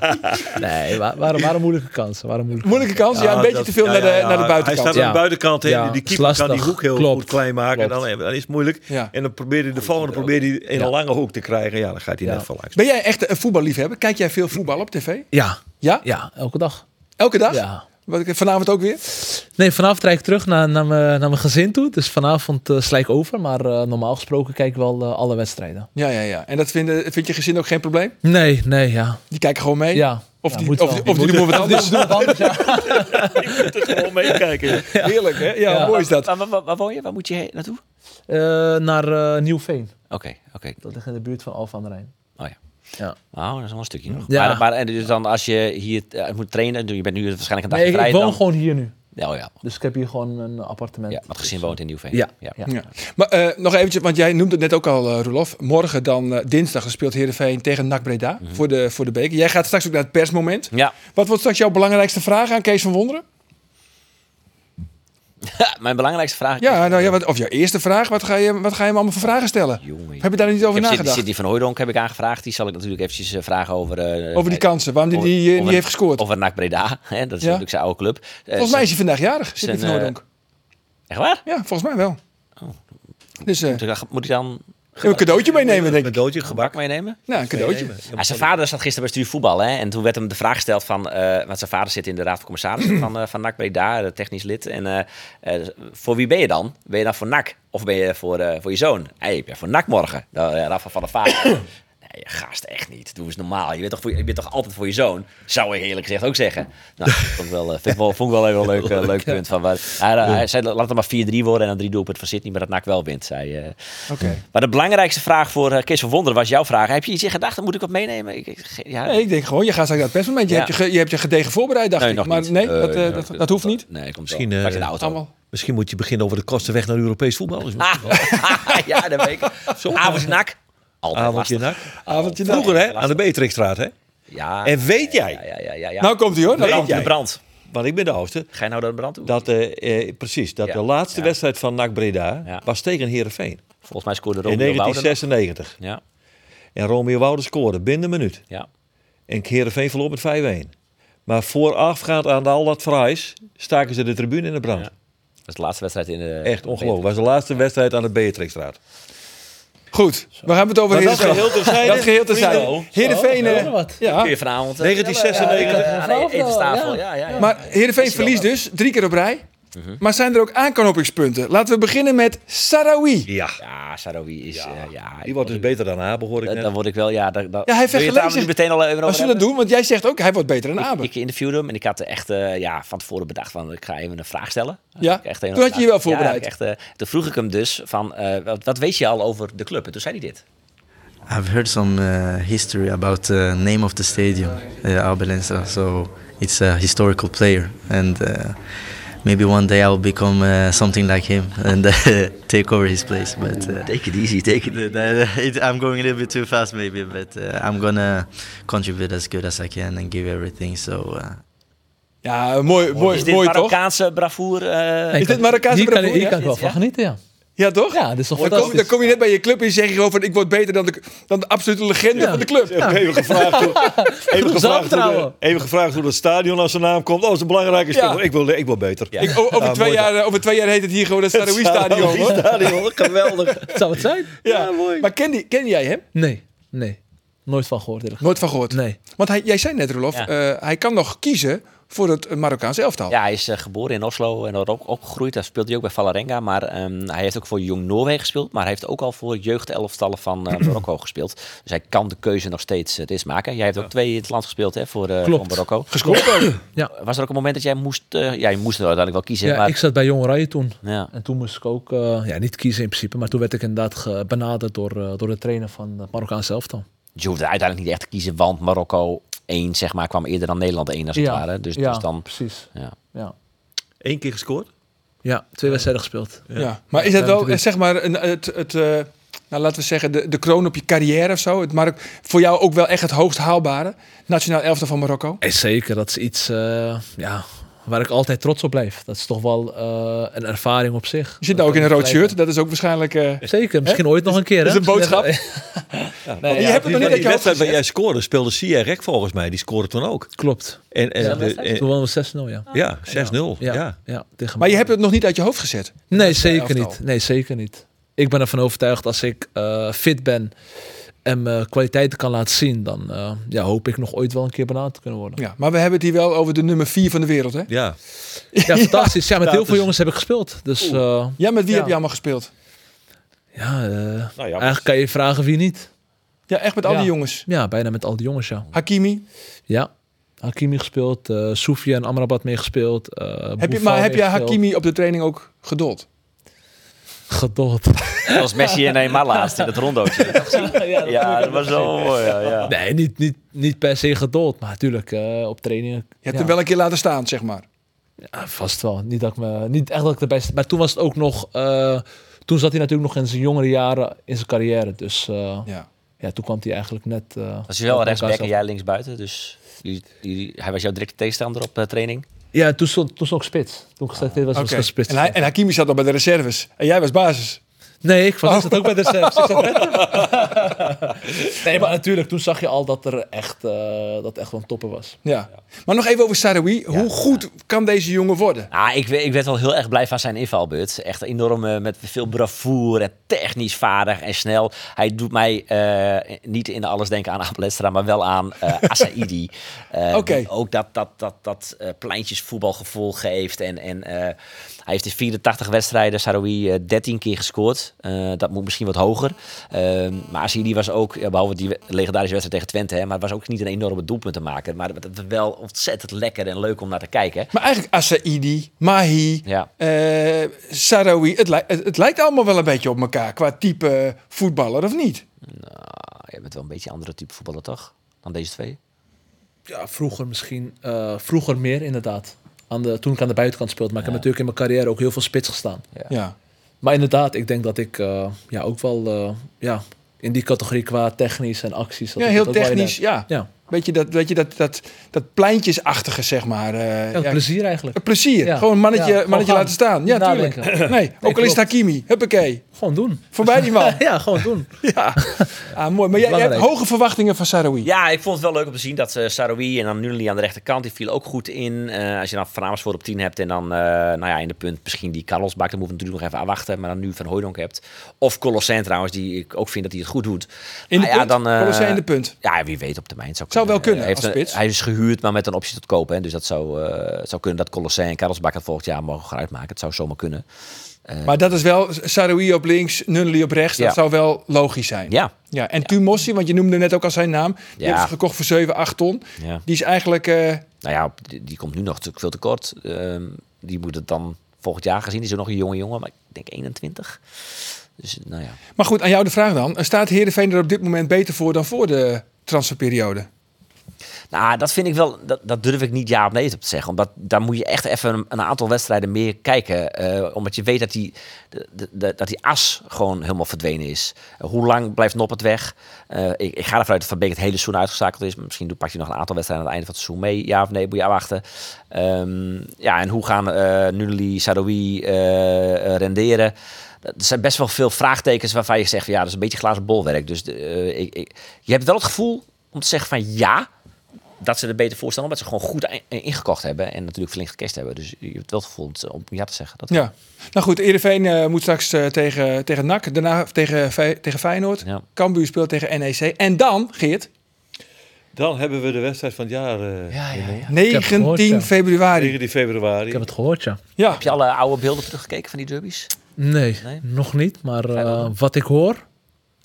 S6: Nee, wa- waren, waren moeilijke kansen. Waren moeilijke
S3: moeilijke kans. Dus
S4: Ah,
S3: Ja, een beetje te veel naar, de, naar de
S4: Hij staat
S3: buitenkant.
S6: Ja.
S4: aan de buitenkant heen.
S6: Ja,
S4: die
S6: is
S4: keeper kan die
S6: lastig.
S4: hoek heel
S6: Klopt.
S4: goed klein maken.
S6: Klopt.
S4: Dan, dan is het moeilijk.
S3: Ja.
S4: En dan probeert hij de volgende probeert hij in een lange hoek te krijgen. Ja, dan gaat hij
S6: Ja.
S4: net van langs.
S3: Ben jij echt een voetballiefhebber? Kijk jij veel voetbal op tv?
S6: Ja,
S3: Ja?
S6: ja, elke dag.
S3: Elke dag?
S6: Ja.
S3: Wat ik vanavond ook weer?
S6: Nee, vanavond rijd ik terug naar, naar, mijn, naar mijn gezin toe. Dus vanavond eh, sla ik over. Maar eh, normaal gesproken kijk ik wel eh, alle wedstrijden.
S3: Ja, ja, ja. En dat vinden, vind je gezin ook geen probleem?
S6: Nee, nee, ja.
S3: Die kijken gewoon mee?
S6: ja.
S3: Of
S6: Ja,
S3: die,
S6: moet
S3: of,
S6: wel.
S3: die- of die doen wat anders?
S4: Gewoon meekijken.
S3: Heerlijk, hè? Ja,
S6: Ja.
S3: mooi is dat.
S5: Waar, waar- waar- waar woon je? Waar moet je heen- naartoe?
S6: Eh, naar eh, Nieuwveen.
S5: Oké, oké.
S6: Dat ligt in de buurt van Alphen aan de Rijn.
S5: Oh ja.
S6: Ja.
S5: Nou, dat is wel een stukje nog.
S6: Ja.
S5: Maar, maar en dus dan als je hier eh, moet trainen, je bent nu waarschijnlijk een dagje
S6: Nee, ik,
S5: vrij.
S6: ik woon
S5: dan...
S6: gewoon hier nu.
S5: Ja, oh ja.
S6: Dus ik heb hier gewoon een appartement.
S5: ja, maar het gezin woont in Nieuwveen.
S6: Ja.
S5: ja.
S6: Ja.
S3: Ja. Maar eh, nog eventjes, want jij noemde het net ook al, eh Roelof. Morgen dan, eh, dinsdag, dan speelt Heerenveen tegen NAC Breda voor, de, voor de beker. Jij gaat straks ook naar het persmoment.
S5: Ja.
S3: Wat wordt straks jouw belangrijkste vraag aan Kees van Wonderen?
S5: mijn belangrijkste vraag is...
S3: Ja, nou, ja wat, of jouw eerste vraag. Wat ga, je, wat ga je hem allemaal voor vragen stellen?
S5: Jongen,
S3: Heb je daar niet
S5: Ik
S3: over
S5: heb Sid-
S3: nagedacht?
S5: Sidney van Hooijdonk heb ik aangevraagd. Die zal ik natuurlijk eventjes eh, vragen over... eh,
S3: over die
S5: eh,
S3: kansen, waarom hij
S5: over-
S3: die, eh,
S5: over-
S3: die heeft gescoord.
S5: Over NAC Breda. Hè? Dat is
S3: Ja.
S5: natuurlijk zijn oude club. Eh,
S3: volgens mij is hij vandaag jarig,
S5: zijn,
S3: Sidney van Hooydonk.
S5: Echt waar?
S3: Ja, volgens mij wel. Dus eh,
S5: Moet ik dan- Moet ik dan
S3: een cadeautje meenemen, denk ik.
S4: Een doodje
S5: bak
S4: gebak.
S5: meenemen?
S3: Nou, een cadeautje.
S5: Ja, zijn vader zat gisteren bij Stuur Voetbal. Hè? En toen werd hem de vraag gesteld van... eh, want zijn vader zit in de Raad van Commissarissen van, eh van NAC Breda, de technisch lid. En eh, eh, voor wie ben je dan? Ben je dan voor NAC? Of ben je voor, eh, voor je zoon? Hey, ik ben voor NAC morgen. Dan, eh, Rafa van der Vaart. Nee, gast, echt niet. Doe eens normaal. Je bent, toch voor, je je bent toch altijd voor je zoon? Zou ik eerlijk gezegd ook zeggen. Nou, vond ik wel, eh, vind ik wel, vond ik wel even een leuk, eh, leuk punt. Van, waar, hij, eh, hij zei, laat het maar 4-3 worden en dan drie doelpunten van Sydney, maar dat NAC wel wint, zei eh,
S3: Oké.
S5: maar de belangrijkste vraag voor eh, Kees van Wonderen was jouw vraag. Heb je iets in gedachten? Moet ik wat meenemen? Ik, ik- ge- ja,
S3: Nee, ik denk gewoon, je gaat straks naar het persmoment. Je,
S5: Ja.
S3: hebt, je, ge- je hebt je gedegen voorbereid, dacht
S5: Nee,
S3: ik.
S5: nog
S3: Maar
S5: niet.
S3: nee,
S5: Eh,
S3: dat, eh,
S5: nee,
S3: dat, dat hoeft niet.
S5: Nee, komt
S4: Misschien,
S5: misschien
S4: eh,
S5: Straks in de auto.
S3: Allemaal.
S4: Misschien moet je beginnen over de kostenweg naar Europees voetbal. Dus
S5: Ah, ja, dat weet ik. Avondje nak. Altijd
S4: avondje
S5: lastig.
S4: nak.
S3: Avondje dan.
S4: Vroeger hè, aan de Beatrixstraat hè.
S5: Ja.
S4: En weet
S5: ja,
S4: jij,
S5: ja, ja, ja, ja.
S3: Nou komt hij hoor. Nou
S4: Weet
S3: komt
S5: de
S4: jij.
S3: hij.
S5: brand.
S4: want ik ben de oudste,
S5: Ga je nou door de brand toe?
S4: dat, eh, eh, precies, dat
S5: Ja,
S4: de laatste
S5: ja.
S4: wedstrijd van NAC Breda
S5: Ja.
S4: was tegen Heerenveen.
S5: Volgens mij scoorde
S4: In
S5: Romeo Wouden.
S4: 1996.
S5: Ja,
S4: En Romeo Wouden scoorde binnen een minuut.
S5: ja.
S4: En Heerenveen verloor met 5-1. Maar voorafgaand aan al dat fraais staken ze de tribune in de brand.
S5: Ja. Dat is de laatste wedstrijd in de...
S4: Echt ongelooflijk. was de laatste wedstrijd aan de Beatrixstraat.
S3: Goed, we hebben het over
S4: Maar dat
S3: Heerenveen.
S4: geheel terzijde.
S3: Dat geheel te zijn. Heerenveen,
S6: Oh,
S3: eh,
S6: nog wat.
S5: Kun
S3: ja.
S5: je vanavond... eh, Ja,
S4: 1996.
S5: ja, nee, even tafel. Ja, ja, ja.
S3: Maar Heerenveen verliest dus drie keer op rij. Maar zijn er ook aanknopingspunten? Laten we beginnen met Sarawi.
S4: Ja,
S5: Ja, Sarowi is... eh, Ja,
S4: die wordt dus beter dan Abel, hoor ik
S5: Dan
S4: net.
S5: Eh, dan word ik wel... Ja, dan, dan,
S3: Ja, hij
S5: Wil je het daar
S3: vergeleek zich-
S5: nu meteen al even over
S3: Wat zullen we
S5: hebben?
S3: dat doen? Want jij zegt ook, hij wordt beter dan Abe.
S5: Ik interviewde hem en ik had er echt eh, ja, van tevoren bedacht van ik ga even een vraag stellen.
S3: Ja,
S5: Ik echt een-
S3: toen had je je wel
S5: Ja,
S3: voorbereid.
S5: ik echt, eh, toen vroeg ik hem dus van eh, wat, wat weet je al over de club? En toen zei hij dit.
S10: I've heard some uh, history about the name of the stadium, uh, Albelensa. So it's a historical player, and uh, maybe one day I will become uh, something like him and uh, take over his place. But uh, take it easy, take it. it- I'm going a little bit too fast, maybe, but uh, I'm gonna contribute as good as I can and give everything. So. Uh,
S3: Ja, mooi,
S5: is
S3: mooi,
S5: dit
S3: mooi toch?
S5: Marokkaanse bravoer? eh,
S3: Is dit Marokkaanse
S6: Hier kan,
S3: bravoer,
S6: hier
S3: ja?
S6: kan ik wel van
S5: Ja?
S6: genieten, ja.
S3: Ja, toch?
S6: Ja, dit is toch
S3: Dan kom, dan
S6: fantastisch.
S3: kom je net bij je club en zeg je gewoon van... ik word beter dan de, dan de absolute legende van de club.
S4: Even gevraagd, hoe, even, gevraagd hoe de,
S6: trouwen.
S4: even gevraagd hoe dat stadion aan zijn naam komt. Oh, dat is een belangrijke
S3: Ja.
S4: speler. Ik, wil, ik wil beter.
S5: Ja.
S4: Ik,
S3: Ik- o- over,
S4: Ja,
S3: twee
S4: mooi,
S3: jaar, eh, over twee jaar heet het hier gewoon het Sarawi Stadion. hoor.
S4: Stadion, geweldig.
S6: Zou het zijn?
S3: Ja. Maar ken, die, ken jij hem?
S6: Nee, nee. Nooit van gehoord. eerlijk
S3: Nooit van gehoord.
S6: Nee.
S3: Want hij, jij zei net, Rolof,
S5: Ja.
S3: eh, hij kan nog kiezen voor het eh, Marokkaanse elftal.
S5: Ja, hij is eh, geboren in Oslo en daar ook opgegroeid. Daar speelde hij ook bij Valerenga. Maar ehm, hij heeft ook voor Jong Noorwegen gespeeld. Maar hij heeft ook al voor jeugdelftallen van eh, Marokko gespeeld. Dus hij kan de keuze nog steeds eh, het is maken. Jij hebt ook twee in het land gespeeld hè, voor, eh,
S6: Klopt.
S5: voor Marokko.
S6: Ja.
S5: Was er ook een moment dat jij moest... eh, ja, je moest er uiteindelijk wel kiezen.
S6: Ja,
S5: maar,
S6: ik zat bij Jong Oranje toen.
S5: ja.
S6: En toen moest ik ook, eh, ja, niet kiezen in principe, maar toen werd ik inderdaad ge- benaderd door, eh, door de trainer van het Marokkaanse elftal.
S5: Dus je hoefde uiteindelijk niet echt te kiezen. Want Marokko 1 zeg maar, kwam eerder dan Nederland 1 als het ware. Dus,
S6: ja,
S5: dus dan...
S6: precies.
S5: Ja.
S6: Ja,
S4: Eén keer gescoord.
S6: ja twee wedstrijden gespeeld.
S3: Ja. Maar is dat wel, eh, zeg maar, een, het, het, eh, nou, laten we zeggen, de, de kroon op je carrière of zo? Het Marok, voor jou ook wel echt het hoogst haalbare? Nationaal elftal van Marokko?
S6: En zeker, dat is iets eh, ja, waar ik altijd trots op blijf. Dat is toch wel eh, een ervaring op zich.
S3: Je zit nou ook in een
S6: Dat kan
S3: rood
S6: ik
S3: shirt, dat is ook waarschijnlijk... eh,
S6: blijven. Zeker, misschien ooit nog een keer.
S3: is
S6: hè?
S3: een boodschap.
S6: Nee,
S3: je
S6: ja,
S3: hebt het nog niet dat
S4: Die
S3: je hoofd
S4: wedstrijd waar jij scoorde, speelde Sierrek volgens mij. Die scoorde toen ook.
S6: Klopt.
S4: En, en, de- en-
S6: Toen wonnen we 6-0, ja.
S4: ja, 6-0. Ja.
S6: Ja, ja, tegen
S3: Oh, Maar je hebt het nog niet uit je hoofd gezet.
S6: Nee, zeker
S3: elftal.
S6: niet. Nee, zeker niet. Ik ben ervan overtuigd als ik eh, fit ben en mijn kwaliteiten kan laten zien, dan eh, ja, hoop ik nog ooit wel een keer benaderd te kunnen worden.
S3: Ja, maar we hebben het hier wel over de nummer 4 van de wereld, hè?
S4: Ja.
S6: Ja, fantastisch. Ja, met heel
S4: dat
S6: veel
S4: is-
S6: jongens heb ik gespeeld. Dus eh,
S3: Ja, met wie
S6: Ja.
S3: heb je allemaal gespeeld?
S6: ja, eh,
S4: Nou ja,
S6: eigenlijk kan je vragen wie niet.
S3: Ja, echt met al
S6: Ja.
S3: die jongens.
S6: Ja, bijna met al die jongens, ja.
S3: Hakimi.
S6: Ja, Hakimi gespeeld, eh Soufia en Amrabat meegespeeld. eh
S3: Heb je,
S6: Buffon
S3: maar heb je
S6: meegespeeld.
S3: Hakimi op de training ook gedold?
S6: Geduld.
S5: Zoals Messi en Neymar laatst in het rondootje.
S6: ja,
S5: Ja, dat was zo mooi. Ja, ja.
S6: Nee, niet, niet, niet per se geduld, maar natuurlijk eh, op trainingen.
S3: Je hebt
S6: ja.
S3: hem wel een keer laten staan, zeg maar.
S6: Ah, Vast wel. Niet, dat ik me, niet echt dat ik erbij sta. Maar toen was het ook nog. eh, toen zat hij natuurlijk nog in zijn jongere jaren in zijn carrière. Dus eh, ja.
S3: Ja.
S6: toen kwam hij eigenlijk net. eh
S5: Was je wel
S6: op
S5: rechtsback
S6: elkaar
S5: en
S6: zelf.
S5: jij linksbuiten. Dus jullie- jullie- hij was jouw directe tegenstander op eh, training.
S6: Ja, toen stond, toen stond ik spits. Toen ik geselecteerd was, was
S3: Oké.
S6: ik spits.
S3: En, hij- en Hakimi zat al bij de reserves. En jij was basis.
S6: Nee, ik was het ook bij de reserves. Ik zat net- nee, maar natuurlijk, toen zag je al dat er echt, eh, dat echt wel een topper was.
S3: Ja. Maar nog even over Sarawi. Hoe goed kan deze jongen worden?
S5: Ah, ik, we- ik werd wel heel erg blij van zijn invalbeurt. Echt enorm eh, met veel bravoer en technisch vaardig en snel. Hij doet mij eh, niet in alles denken aan Abelestra, maar wel aan eh Asaidi. Eh,
S3: Oké.
S5: die Ook dat, dat, dat, dat eh, pleintjesvoetbalgevoel geeft. En, en eh, hij heeft in 84 wedstrijden, Saroui, 13 keer gescoord. Eh, dat moet misschien wat hoger. Ehm, maar Asaidi was ook, ja, behalve die we- legendarische wedstrijd tegen Twente, hè, maar was ook niet een enorme doelpuntenmaker. Maar het was wel ontzettend lekker en leuk om naar te kijken.
S3: Maar eigenlijk Asaidi, Mahi,
S5: Ja.
S3: eh, Sarawi. Het, lij- het, het lijkt allemaal wel een beetje op elkaar qua type voetballer, of niet?
S5: Nou, je bent wel een beetje een andere type voetballer, toch? Dan deze twee.
S6: Ja, vroeger misschien. eh, vroeger meer, inderdaad. Aan de, toen ik aan de buitenkant speelde. Maar ik heb natuurlijk in mijn carrière ook heel veel spits gestaan.
S3: Ja.
S6: Maar inderdaad, ik denk dat ik eh, ja, ook wel eh, ja, in die categorie qua technisch en acties. dat
S3: Ja,
S6: ik
S3: heel
S6: dat ook wel in
S3: technisch.
S6: heb.
S3: Ja.
S6: Ja,
S3: Beetje dat, weet je, dat, dat, dat pleintjesachtige, zeg maar. eh,
S6: ja,
S3: ja.
S6: plezier eigenlijk.
S3: Eh, Plezier.
S6: Ja.
S3: Gewoon mannetje,
S6: Ja, gewoon
S3: mannetje
S6: gaan.
S3: laten staan. Ja,
S6: Niet
S3: natuurlijk.
S6: nadenken.
S3: Nee, ook al is
S6: klopt.
S3: het Hakimi. Huppakee.
S6: Gewoon doen.
S3: Voorbij die man.
S6: Ja, gewoon doen.
S3: Ah, mooi. Maar jij, jij hebt
S6: Belangrijk.
S3: hoge verwachtingen van Saroui.
S5: Ja, ik vond het wel leuk om te zien dat eh Saroui en dan Nunli aan de rechterkant, die viel ook goed in. Eh, als je dan Van voor op 10 hebt en dan eh, nou ja, in de punt misschien die Carlos maakt, dan moet ik natuurlijk nog even afwachten. Maar dan nu Van Hooydonk hebt. Of Colossijn trouwens, die ik ook vind dat hij het goed doet.
S3: In de
S5: Nou ja,
S3: punt?
S5: dan, eh,
S3: Colossijn in de punt.
S5: Ja, wie weet op termijn. Het Zou,
S3: Zou wel kunnen,
S5: Hij, heeft
S3: als
S5: een-
S3: spits.
S5: hij is gehuurd, maar met een optie tot kopen. Hè. Dus dat zou, eh, het zou kunnen dat Colossijn en Karlsbak het volgend jaar mogen gaan uitmaken. Het zou zomaar kunnen.
S3: Maar dat is wel Saroui op links, Nunley op rechts.
S5: Ja.
S3: Dat zou wel logisch zijn.
S5: Ja,
S3: Ja, en Tumossi, want je noemde net ook al zijn naam. Die
S5: Ja.
S3: hebben ze gekocht voor 7, 8 ton.
S5: ja.
S3: Die is eigenlijk... eh,
S5: Nou ja, op- die, die komt nu nog natuurlijk veel te kort. Ehm, die moet het dan volgend jaar gezien. Die is ook nog een jonge jongen, maar ik denk 21. Dus nou ja.
S3: Maar goed, aan jou de vraag dan. Staat Heerenveen er op dit moment beter voor dan voor de transferperiode?
S5: Nou, dat vind ik wel, dat, dat durf ik niet ja of nee op te zeggen. Omdat daar moet je echt even een, een aantal wedstrijden meer kijken. eh, omdat je weet dat die, de- de- de- dat die as gewoon helemaal verdwenen is. Eh, hoe lang blijft Noppert weg? Eh, ik, ik ga ervan uit dat Van Beek het hele seizoen uitgeschakeld is. Misschien doet- pakt hij nog een aantal wedstrijden aan het einde van het seizoen mee. Ja of nee, moet je afwachten. Ehm, ja, en hoe gaan eh Nunli, Sadoui eh, eh, renderen? Er zijn best wel veel vraagtekens waarvan je zegt, van, ja, dat is een beetje glazen bolwerk. Dus de, eh, ik, ik, je hebt wel het gevoel om te zeggen van ja, dat ze er beter voor staan, omdat ze gewoon goed i- ingekocht hebben en natuurlijk flink gecast hebben. Dus je hebt wel het gevoel om- om ja te zeggen. Dat,
S3: Ja. Nou goed, Ereveen moet straks eh, tegen, tegen NAC, daarna tegen, Fe- tegen Feyenoord.
S5: Ja.
S3: Cambuur speelt tegen NEC. En dan, Geert,
S4: Dan hebben we de wedstrijd van het jaar eh,
S5: Ja, ja, ja.
S3: 19
S6: gehoord, ja.
S3: februari.
S4: 19 februari.
S6: Ik heb het gehoord, ja.
S3: Ja,
S5: Heb je alle oude beelden teruggekeken van die derbies?
S6: Nee,
S5: Nee?
S6: nog niet. Maar
S5: Fijn
S6: eh,
S5: wel.
S6: wat ik hoor,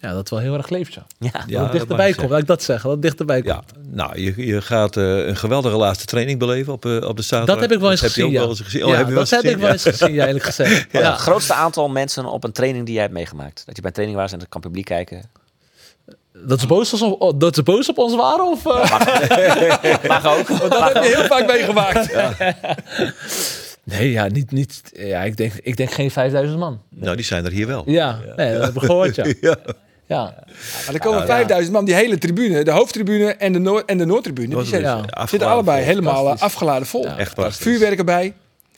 S6: ja, dat wel heel erg leeft, ja.
S5: Ja.
S4: Ja,
S6: dat het
S4: dat mag
S6: dichterbij
S4: je
S6: komt, laat ik dat zeggen. Dat het dichterbij komt.
S4: Ja, nou, je, je gaat eh, een geweldige laatste training beleven op, eh, op de zaterdag.
S6: Dat heb ik wel eens gezien,
S4: heb je
S6: ja.
S4: ook wel eens gezien. Oh,
S6: Ja,
S4: heb je wel
S6: dat
S4: eens
S6: heb ik
S4: gezien?
S6: wel eens gezien, ja, eerlijk gezegd. Ja.
S5: Het grootste aantal mensen op een training die jij hebt meegemaakt. Dat je bij een training was en dat kan publiek kijken.
S6: Dat, ze boos was op, dat ze boos op ons waren? Of, eh?
S5: Mag ook.
S3: dat heb je heel vaak meegemaakt.
S6: Nee, ja, niet, niet, ja ik, denk, ik denk geen 5000 man.
S4: Ja. Nou, die zijn er hier wel.
S6: Ja, Nee, dat heb ik gehoord, ja.
S4: Ja.
S6: ja.
S3: Maar er komen 5000 man, die hele tribune, de hoofdtribune en de, noord en de Noordtribune. Die zijn,
S6: Ja.
S4: Afgelopen-
S3: zitten allebei helemaal eh,
S6: Fantastisch.
S3: afgeladen vol.
S6: Ja,
S4: Echt prachtig.
S3: Vuurwerk erbij.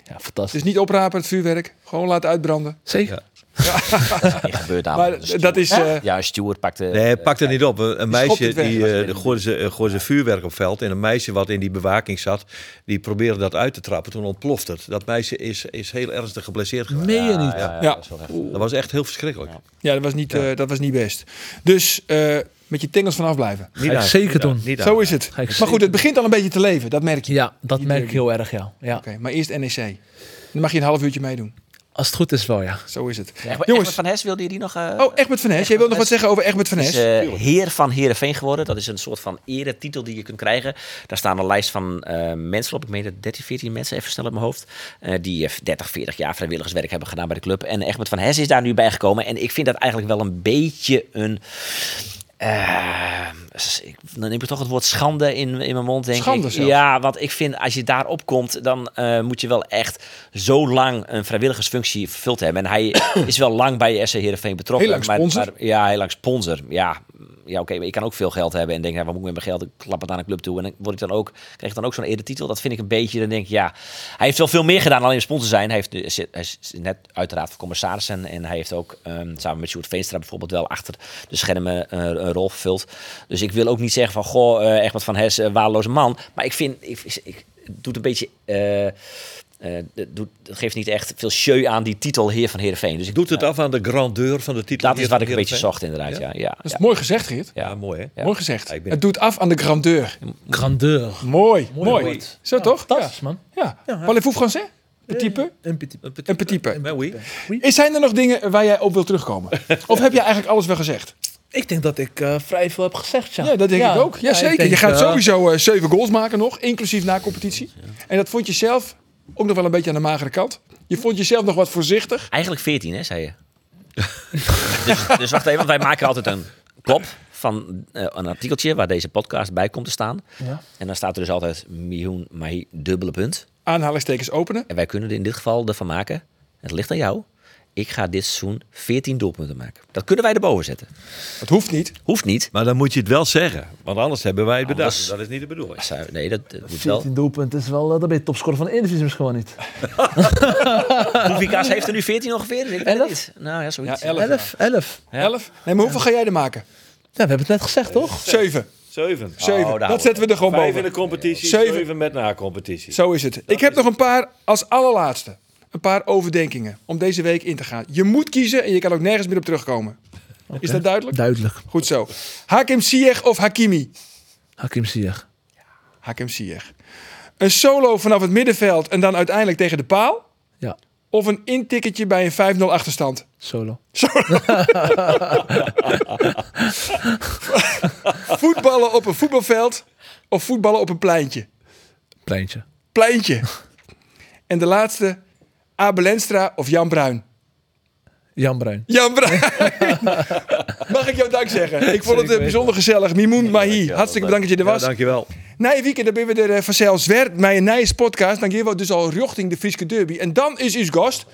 S6: Ja,
S3: Dus
S6: fantastisch.
S3: niet oprapen het vuurwerk. Gewoon laten uitbranden.
S6: Zeker.
S5: Ah, Dat gebeurt namelijk.
S3: Maar
S5: Een steward-
S3: dat is... eh,
S5: Ja, een steward pakte...
S4: Nee, pak er niet op. Een, een
S3: schopt
S4: meisje
S3: het weg.
S4: die
S5: Dat is
S4: eh,
S5: weer-
S4: gooide, ze, eh, gooide ze vuurwerk op veld. En een meisje wat in die bewaking zat, die probeerde dat uit te trappen. Toen ontploft het. Dat meisje is, is heel ernstig geblesseerd geraakt.
S6: Meen je niet?
S3: Ja.
S5: dat is wel echt-
S4: Dat was echt heel verschrikkelijk.
S3: Ja, dat was niet, eh, dat was niet best. Dus eh, met je tingels vanaf blijven.
S4: Niet
S6: ik
S4: aan-
S6: zeker
S4: niet aan-
S6: doen.
S4: Niet aan.
S3: Zo is het.
S6: Ga ik
S3: Maar goed,
S6: zeker.
S3: het begint al een beetje te leven, dat merk je.
S6: Ja, dat
S3: Die
S6: merk ik
S3: derby.
S6: heel erg, ja. ja.
S3: Oké, maar eerst NEC. Dan mag je een half uurtje meedoen.
S6: Als het goed is wel, ja.
S3: Zo is het.
S5: Egbert-
S3: Jongens.
S5: Egbert van Hes wilde je die nog... eh,
S3: Oh, Egbert van Nes. Jij wil nog wat zeggen over Egbert van
S5: is
S3: Nes?
S5: eh, heer van Heerenveen geworden. Dat is een soort van eretitel die je kunt krijgen. Daar staan een lijst van eh, mensen op. Ik meen dat 13, 14 mensen, even snel op mijn hoofd. eh, die eh, 30, 40 jaar vrijwilligerswerk hebben gedaan bij de club. En Egbert van Hess is daar nu bijgekomen. En ik vind dat eigenlijk wel een beetje een... eh, s- ik- dan neem ik toch het woord schande in, in mijn mond, denk
S3: Schande
S5: ik.
S3: zelfs.
S5: Ja, want ik vind als je daarop komt, dan eh, moet je wel echt zo lang een vrijwilligersfunctie vervuld hebben. En hij is wel lang bij SC Heerenveen betrokken.
S3: Heel lang sponsor.
S5: Maar, ja, heel lang sponsor. Ja, ja oké, maar ik kan ook veel geld hebben en denk, nou, wat moet ik met mijn geld? Ik klap het aan een club toe en dan word ik dan ook, krijg ik dan ook zo'n eretitel. Dat vind ik een beetje, dan denk ik, ja, hij heeft wel veel meer gedaan dan alleen sponsor zijn. Hij, heeft, nu- zit- hij is net uiteraard van commissarissen en hij heeft ook ehm, samen met Sjoerd Veenstra bijvoorbeeld wel achter de schermen eh, een rol vervuld. Dus ik wil ook niet zeggen van, goh, eh, Egbert van Hess, eh, waardeloze man. Maar ik vind, ik, ik, het doet een beetje... eh, eh, het doet, het geeft niet echt veel sjeu aan die titel Heer van Heerenveen. Dus ik
S4: Doet het af aan de grandeur van de titel.
S5: dat
S4: hier
S5: is wat
S4: van
S5: ik een beetje
S4: Heerenveen?
S5: zocht inderdaad, ja. ja,
S3: Dat is
S5: ja.
S3: mooi gezegd, Geert.
S4: Ja, mooi hè?
S5: Ja.
S3: Mooi gezegd.
S4: Ja, ik ben-
S3: Het doet af aan de grandeur.
S6: Grandeur.
S3: Mooi, mooi.
S6: woord.
S3: Zo toch? Ja.
S6: Fantastisch, man.
S3: ja. Parlez-vous français? Petit peu?
S6: Een petit peu.
S3: Een petit peu.
S4: Maar oui.
S3: Is- Zijn er nog dingen waar jij op wilt terugkomen? Of heb je eigenlijk alles wel gezegd?
S6: Ik denk dat ik eh, vrij veel heb gezegd, ja.
S3: Ja, dat denk ik ook.
S6: Ja, ik
S3: Jazeker.
S6: denk,
S3: je gaat
S6: eh,
S3: sowieso eh, zeven goals maken nog, inclusief na competitie. En dat vond je zelf ook nog wel een beetje aan de magere kant. Je vond jezelf nog wat voorzichtig.
S5: Eigenlijk 14, hè, zei je. dus, dus wacht even, want wij maken altijd een kop van eh, een artikeltje waar deze podcast bij komt te staan.
S6: Ja.
S5: En dan staat er dus altijd miljoen Mahi dubbele punt.
S3: Aanhalingstekens openen.
S5: En wij kunnen er in dit geval ervan maken. Het ligt aan jou. Ik ga dit seizoen 14 doelpunten maken. Dat kunnen wij erboven zetten.
S3: Dat hoeft niet.
S5: Hoeft niet.
S4: Maar dan moet je het wel zeggen. Want anders hebben wij het bedacht.
S5: Anders-
S4: Dat is niet de bedoeling.
S5: Zou- Nee, dat, dat moet wel.
S6: 14 doelpunten is wel, eh, dan ben je topscorer van de Eredivisie misschien gewoon niet.
S5: Koevikas heeft er nu 14 ongeveer. Dus ik weet het niet. Nou ja, zoiets.
S3: Ja, elf.
S6: 11, 11.
S3: Elf. Nee, maar hoeveel ga jij er maken?
S6: Ja, Nou, we hebben het net gezegd, toch?
S3: Zeven.
S4: Zeven. Oh,
S3: Zeven.
S5: daar
S3: dat
S5: houden
S3: zetten we er gewoon
S4: Vijf
S3: boven.
S4: in de competitie,
S3: Zeven.
S4: zeven, met na-competitie.
S3: Zo is het. ik heb nog een paar als allerlaatste. Een paar overdenkingen om deze week in te gaan. Je moet kiezen en je kan ook nergens meer op terugkomen. Is dat duidelijk?
S6: Duidelijk.
S3: Goed zo. Hakim Ziyech of Hakimi?
S6: Hakim Ziyech.
S3: Hakim Ziyech. Een solo vanaf het middenveld en dan uiteindelijk tegen de paal?
S6: Ja.
S3: Of een intikketje bij een 5-0 achterstand?
S6: Solo.
S3: Voetballen op een voetbalveld of voetballen op een pleintje?
S6: Pleintje.
S3: Pleintje. En de laatste, Abel Enstra of Jan Bruin?
S6: Jan Bruin.
S3: Jan Bruin. Mag ik jou dank zeggen? Ik vond het eh, bijzonder gezellig. Mimoen Mahi, hartstikke bedankt dat je er was.
S4: dankjewel.
S3: Na een weekend hebben we er eh, vanzelf zwerd met een nieuwe podcast. Dan gaan we dus al richting de Frieske Derby. En dan is uw gast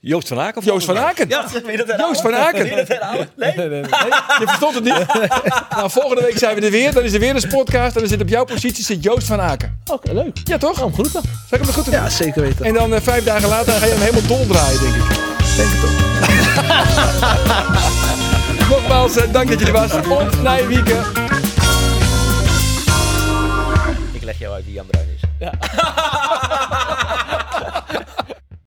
S4: Joost van Aken.
S3: Joost van Aken.
S10: Ja, wie dat
S3: Joost van Aken. Je verstond het niet. Nou, volgende week zijn we er weer. Dan is er weer een podcast. En dan zit op jouw positie zit Joost van Aken.
S6: Oké, leuk.
S3: Ja, toch? Zal
S6: Groeten.
S3: ik hem goed doen?
S6: Ja, zeker weten.
S3: En dan eh, vijf dagen later ga je hem helemaal dol draaien, denk ik.
S6: Denk het ook.
S3: Nogmaals, eh, dank dat je er was. Op naar weekend.
S5: Ik leg jou uit wie Jan Bruin is.
S6: Ja.